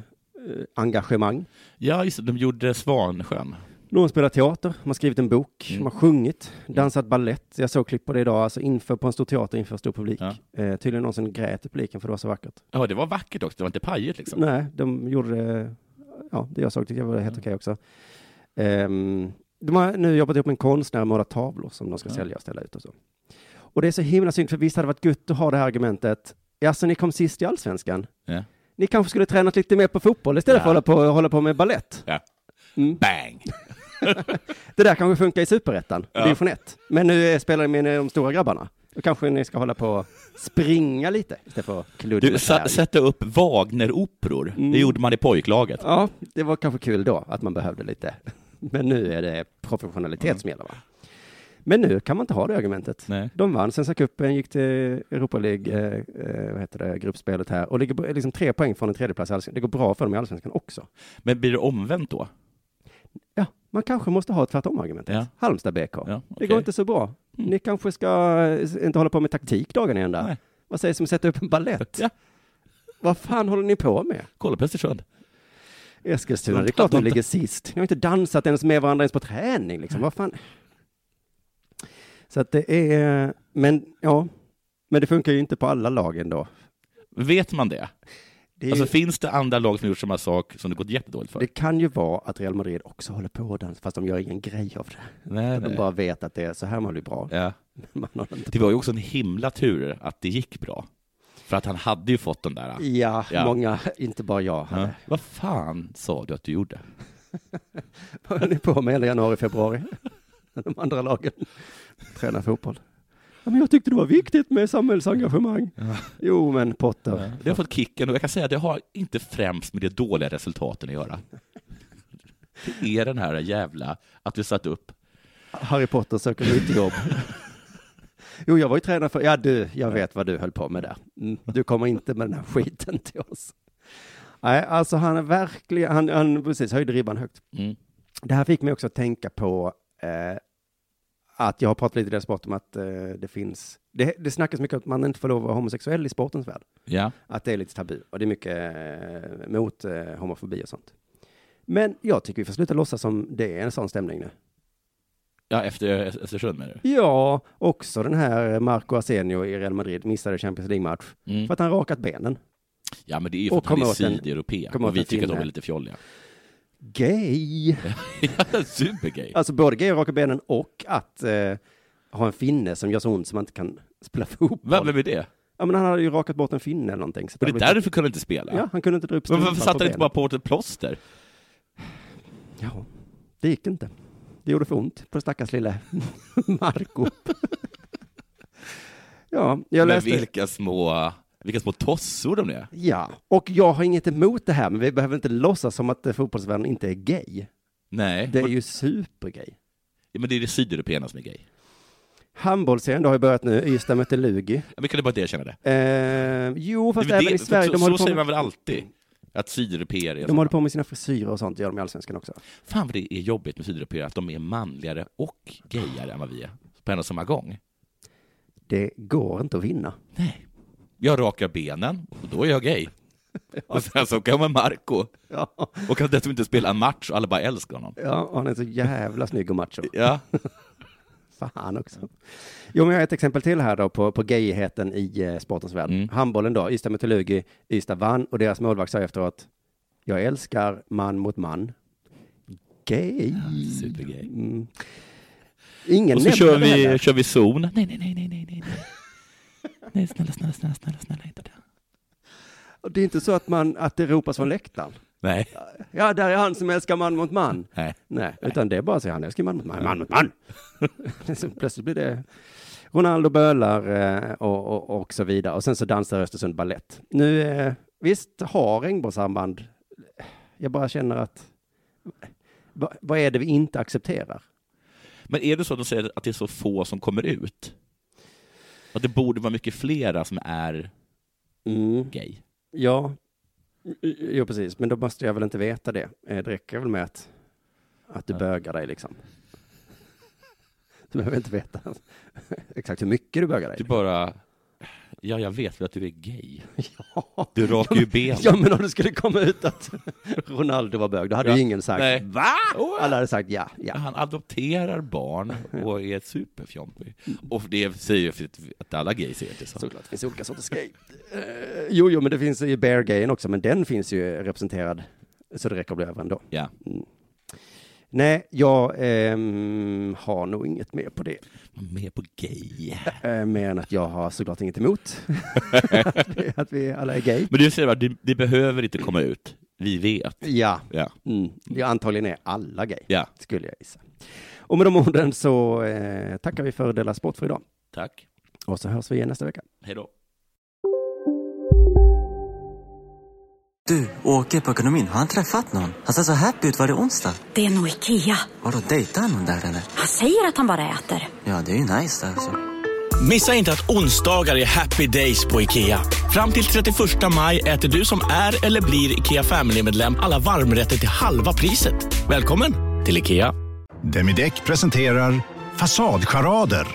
Speaker 4: engagemang.
Speaker 5: Ja, just det. De gjorde Svansjön.
Speaker 4: Någon spelar teater, man har skrivit en bok,
Speaker 5: Mm.
Speaker 4: man har sjungit, dansat ballett. Jag såg klipp på det idag, alltså inför på en stor teater inför stor publik.
Speaker 5: Ja.
Speaker 4: Eh, tydligen någon som grät i publiken för det var så vackert.
Speaker 5: Ja, det var vackert också. Det var inte pajigt liksom. Mm.
Speaker 4: Nej, de gjorde, eh, ja, det jag såg tyckte jag var helt okej också. Ehm, de har nu jobbat ihop med en konstnär och målat tavlor som de ska
Speaker 5: Ja.
Speaker 4: sälja och ställa ut och så. Och det är så himla synd, för visst hade det varit gött att ha det här argumentet. Alltså, ni kom sist i allsvenskan.
Speaker 5: Ja.
Speaker 4: Ni kanske skulle tränat lite mer på fotboll istället
Speaker 5: Ja.
Speaker 4: för att hålla på, hålla på med ballett.
Speaker 5: Ja.
Speaker 4: Mm.
Speaker 5: Bang!
Speaker 4: Det där kanske funkar i superettan,
Speaker 5: Ja.
Speaker 4: division 1. Men nu eh, spelar ni med de stora grabbarna. Då kanske ni ska hålla på och springa lite istället för att kludda
Speaker 5: Du,
Speaker 4: med
Speaker 5: sa,
Speaker 4: träd.
Speaker 5: sätta upp Wagner-operor. Det
Speaker 4: Mm.
Speaker 5: gjorde man i pojklaget.
Speaker 4: Ja, det var kanske kul då att man behövde lite. Men nu är det professionalitet som gäller va? Men nu kan man inte ha det argumentet.
Speaker 5: Mm. Nej.
Speaker 4: De vann Svenska cupen, gick till Europa League, eh, eh, vad heter det, gruppspelet här och ligger på- liksom tre poäng från en tredjeplats i allsvenskan. Det går bra för dem i allsvenskan också.
Speaker 5: Men blir det omvänt då?
Speaker 4: Ja, man kanske måste ha ett tvärtom-argumentet.
Speaker 5: Ja.
Speaker 4: Halmstad BK.
Speaker 5: Ja,
Speaker 4: Det
Speaker 5: okej. Mm.
Speaker 4: går inte så bra. Ni kanske ska eh, inte hålla på med taktik dagen i ända.
Speaker 5: Nej.
Speaker 4: Vad sägs om att sätta upp en ballett?
Speaker 5: Ja.
Speaker 4: Vad fan håller ni på med?
Speaker 5: Kolla på Östersund.
Speaker 4: Eskilstuna, det är
Speaker 5: De-
Speaker 4: klart
Speaker 5: de-
Speaker 4: de
Speaker 5: de-
Speaker 4: ligger sist. Ni har inte dansat ens med varandra ens på träning liksom. Vad fan? Så att det är, men ja, men det funkar ju inte på alla lag ändå.
Speaker 5: Vet man det?
Speaker 4: är
Speaker 5: alltså
Speaker 4: ju-
Speaker 5: finns det andra lag som gjort samma sak som det gått jättedåligt för?
Speaker 4: Det kan ju vara att Real Madrid också håller på och dansar, fast de gör ingen grej av det.
Speaker 5: Nej,
Speaker 4: de
Speaker 5: nej.
Speaker 4: bara vet att det är så här man blir bra.
Speaker 5: Ja.
Speaker 4: Man har inte...
Speaker 5: Det var ju också en himla tur att det gick bra. För att han hade ju fått den där.
Speaker 4: Ja, många, inte bara jag. hade.
Speaker 5: Ja. Vad fan sa du att du gjorde?
Speaker 4: Vad höll ni på med hela januari, februari? De andra lagen tränar fotboll. Ja, men jag tyckte det var viktigt med samhällsengagemang. Jo, men Potter.
Speaker 5: Det har fått kicken och jag kan säga att det har inte främst med de dåliga resultaten att göra. Det är den här jävla att vi satt upp.
Speaker 4: Harry Potter söker nytt jobb. Jo, jag var ju tränare för, ja du, jag vet vad du höll på med där. Mm, Du kommer inte med den här skiten till oss. Nej, alltså han är verkligen, han, han precis höjde ribban högt.
Speaker 5: Mm.
Speaker 4: Det här fick mig också att tänka på eh, att jag har pratat lite i deras sport om att eh, det finns, det, det snackas mycket om att man inte får lov att vara homosexuell i sportens värld.
Speaker 5: Ja.
Speaker 4: Att det är lite tabu och det är mycket eh, mot eh, homofobi och sånt. Men jag tycker vi får sluta låtsas som det är en sån stämning nu.
Speaker 5: Ja, efter Östersund menar du?
Speaker 4: Ja, också den här Marco Arsenio i Real Madrid missade Champions League-match
Speaker 5: Mm.
Speaker 4: för att han rakat benen.
Speaker 5: Ja, men det är ju
Speaker 4: Och
Speaker 5: för att han
Speaker 4: komma
Speaker 5: är
Speaker 4: åt en-
Speaker 5: sydeuropé
Speaker 4: komma åt
Speaker 5: och vi
Speaker 4: en
Speaker 5: tycker att de
Speaker 4: finne.
Speaker 5: är lite fjolliga.
Speaker 4: Gay!
Speaker 5: Ja, Supergay!
Speaker 4: Alltså både gay och raka benen och att eh, ha en finne som gör så ont som man inte kan spela fotboll.
Speaker 5: Vem vem är det?
Speaker 4: Ja, men han hade ju rakat bort en finne eller någonting. Så
Speaker 5: Och det
Speaker 4: hade
Speaker 5: är
Speaker 4: blivit-
Speaker 5: därför kunde han inte spela?
Speaker 4: typ- Ja, han kunde inte dra upp
Speaker 5: men varför
Speaker 4: strumpan på
Speaker 5: satte han inte
Speaker 4: benet.
Speaker 5: bara på ett plåster?
Speaker 4: Ja, det gick inte. Det gjorde för ont på stackars lilla Marco. ja, jag
Speaker 5: men
Speaker 4: läste...
Speaker 5: vilka små, vilka små tossor de är.
Speaker 4: Ja, och jag har inget emot det här, men vi behöver inte låtsas som att eh, fotbollsvärlden inte är gay.
Speaker 5: Nej,
Speaker 4: Det är ju supergay.
Speaker 5: Ja, men det är det sydeuropéerna som är gay.
Speaker 4: Handbollsserien då har ju börjat nu, Ystad möter Lugi.
Speaker 5: Ja, men kan du bara inte erkänna det?
Speaker 4: Eh, jo, fast
Speaker 5: Det är väl
Speaker 4: även i
Speaker 5: det-
Speaker 4: Sverige,
Speaker 5: så,
Speaker 4: de, håller
Speaker 5: så
Speaker 4: på
Speaker 5: säger
Speaker 4: med,
Speaker 5: man väl alltid? alltså. Att sydeuropéer är...
Speaker 4: de håller på med sina frisyrer och sånt, gör de i Allsvenskan också.
Speaker 5: Fan vad det är jobbigt med sydeuropéer, att de är manligare och gayare än vad vi är. På en och samma gång.
Speaker 4: Det går inte att vinna.
Speaker 5: Nej. Jag rakar benen, och då är jag gay. Och sen så kommer Marco
Speaker 4: Ja,
Speaker 5: och kan dessutom inte spela en match och alla bara älskar honom.
Speaker 4: ja och han är så jävla snygg och macho.
Speaker 5: Ja.
Speaker 4: Fan också. Jo, men jag har ett exempel till här då på, på gayheten i eh, sportens värld.
Speaker 5: Mm.
Speaker 4: Handbollen då, Ystad möter Lugi, Ystad vann och deras målvakt sa efteråt, jag älskar man mot man. Gay.
Speaker 5: Supergay.
Speaker 4: Mm. Ingen
Speaker 5: Och så
Speaker 4: nämner
Speaker 5: kör
Speaker 4: det
Speaker 5: vi,
Speaker 4: heller.
Speaker 5: kör vi zon. Nej, nej, nej, nej, nej, nej. Nej, snälla, snälla, snälla, snälla, snälla, inte det.
Speaker 4: Och Det är inte så att, man, att det ropas från läktaren.
Speaker 5: Nej.
Speaker 4: Ja, där är han som älskar man mot man.
Speaker 5: Nej.
Speaker 4: Nej, utan det är bara så han älskar man mot man, man mot man. så plötsligt blir det Ronaldo bölar eh, och, och, och så vidare. Och sen så dansar Östersund ballett. Nu, eh, visst har regnbågssamband, eh, jag bara känner att, va, vad är det vi inte accepterar?
Speaker 5: Men är det så att de säger att det är så få som kommer ut? Att det borde vara mycket flera som är
Speaker 4: Mm.
Speaker 5: gay?
Speaker 4: Ja, jo precis, men då måste jag väl inte veta det. Eh, Det räcker väl med att, att du bögar dig liksom. Du behöver inte veta exakt hur mycket du bögar dig.
Speaker 5: Du bara, ja, jag vet väl att du är gay.
Speaker 4: Ja.
Speaker 5: Du rakar ju benen.
Speaker 4: Ja, men om det skulle komma ut att Ronaldo var bög, då hade
Speaker 5: Ja.
Speaker 4: ju ingen sagt
Speaker 5: Nej.
Speaker 4: va?
Speaker 5: Åh.
Speaker 4: Alla hade sagt ja, ja.
Speaker 5: Han adopterar barn och är superfjompig. Och det säger ju för att alla gays är det så.
Speaker 4: Såklart, det finns olika sorters gay. Eh, jo, jo, men det finns ju bear-gayen också, men den finns ju representerad så det räcker att bli över ändå.
Speaker 5: Ja.
Speaker 4: Nej, jag ehm, har nog inget mer på det.
Speaker 5: Mer på gay.
Speaker 4: Eh, mer än att jag har såklart inget emot att, vi, att vi alla är gay.
Speaker 5: Men du säger bara, det, det behöver inte komma ut. Vi vet.
Speaker 4: Ja,
Speaker 5: Ja.
Speaker 4: mm. jag antagligen är alla gay,
Speaker 5: Ja.
Speaker 4: skulle jag gissa. Och med de orden så eh, tackar vi för Della Sport för idag.
Speaker 5: Tack.
Speaker 4: Och så hörs vi igen nästa vecka.
Speaker 5: Hej då.
Speaker 12: Du, åker på ekonomin. Har han träffat någon? Han ser så happy ut. Var det onsdag?
Speaker 13: Det är nog Ikea.
Speaker 12: Vadå, dejtar han någon där eller?
Speaker 13: Han säger att han bara äter.
Speaker 12: Ja, det är ju nice alltså.
Speaker 14: Missa inte att onsdagar är happy days på IKEA. Fram till 31 maj äter du som är eller blir IKEA Family-medlem alla varmrätter till halva priset. Välkommen till IKEA.
Speaker 15: Demideck presenterar Fasadcharader.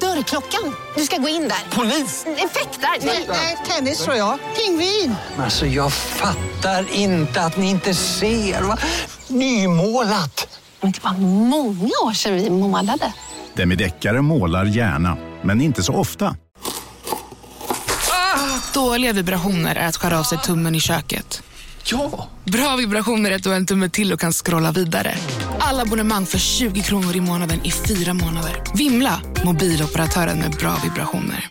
Speaker 16: Dörrklockan. Du ska gå in där. Polis? Effektar? Nej, nej, tennis tror jag. Pingvin.
Speaker 17: Alltså jag fattar inte att ni inte ser. Va? Nymålat.
Speaker 16: Men det var många år sedan vi målade.
Speaker 15: Demideckare målar gärna, men inte så ofta.
Speaker 17: Ah,
Speaker 9: Dåliga vibrationer är att skära av sig tummen i köket.
Speaker 18: Ja!
Speaker 9: Bra vibrationer är att du har en tumme till och kan scrolla vidare. Alla abonnemang för 20 kronor i månaden i fyra månader. Vimla! Mobiloperatören med bra vibrationer.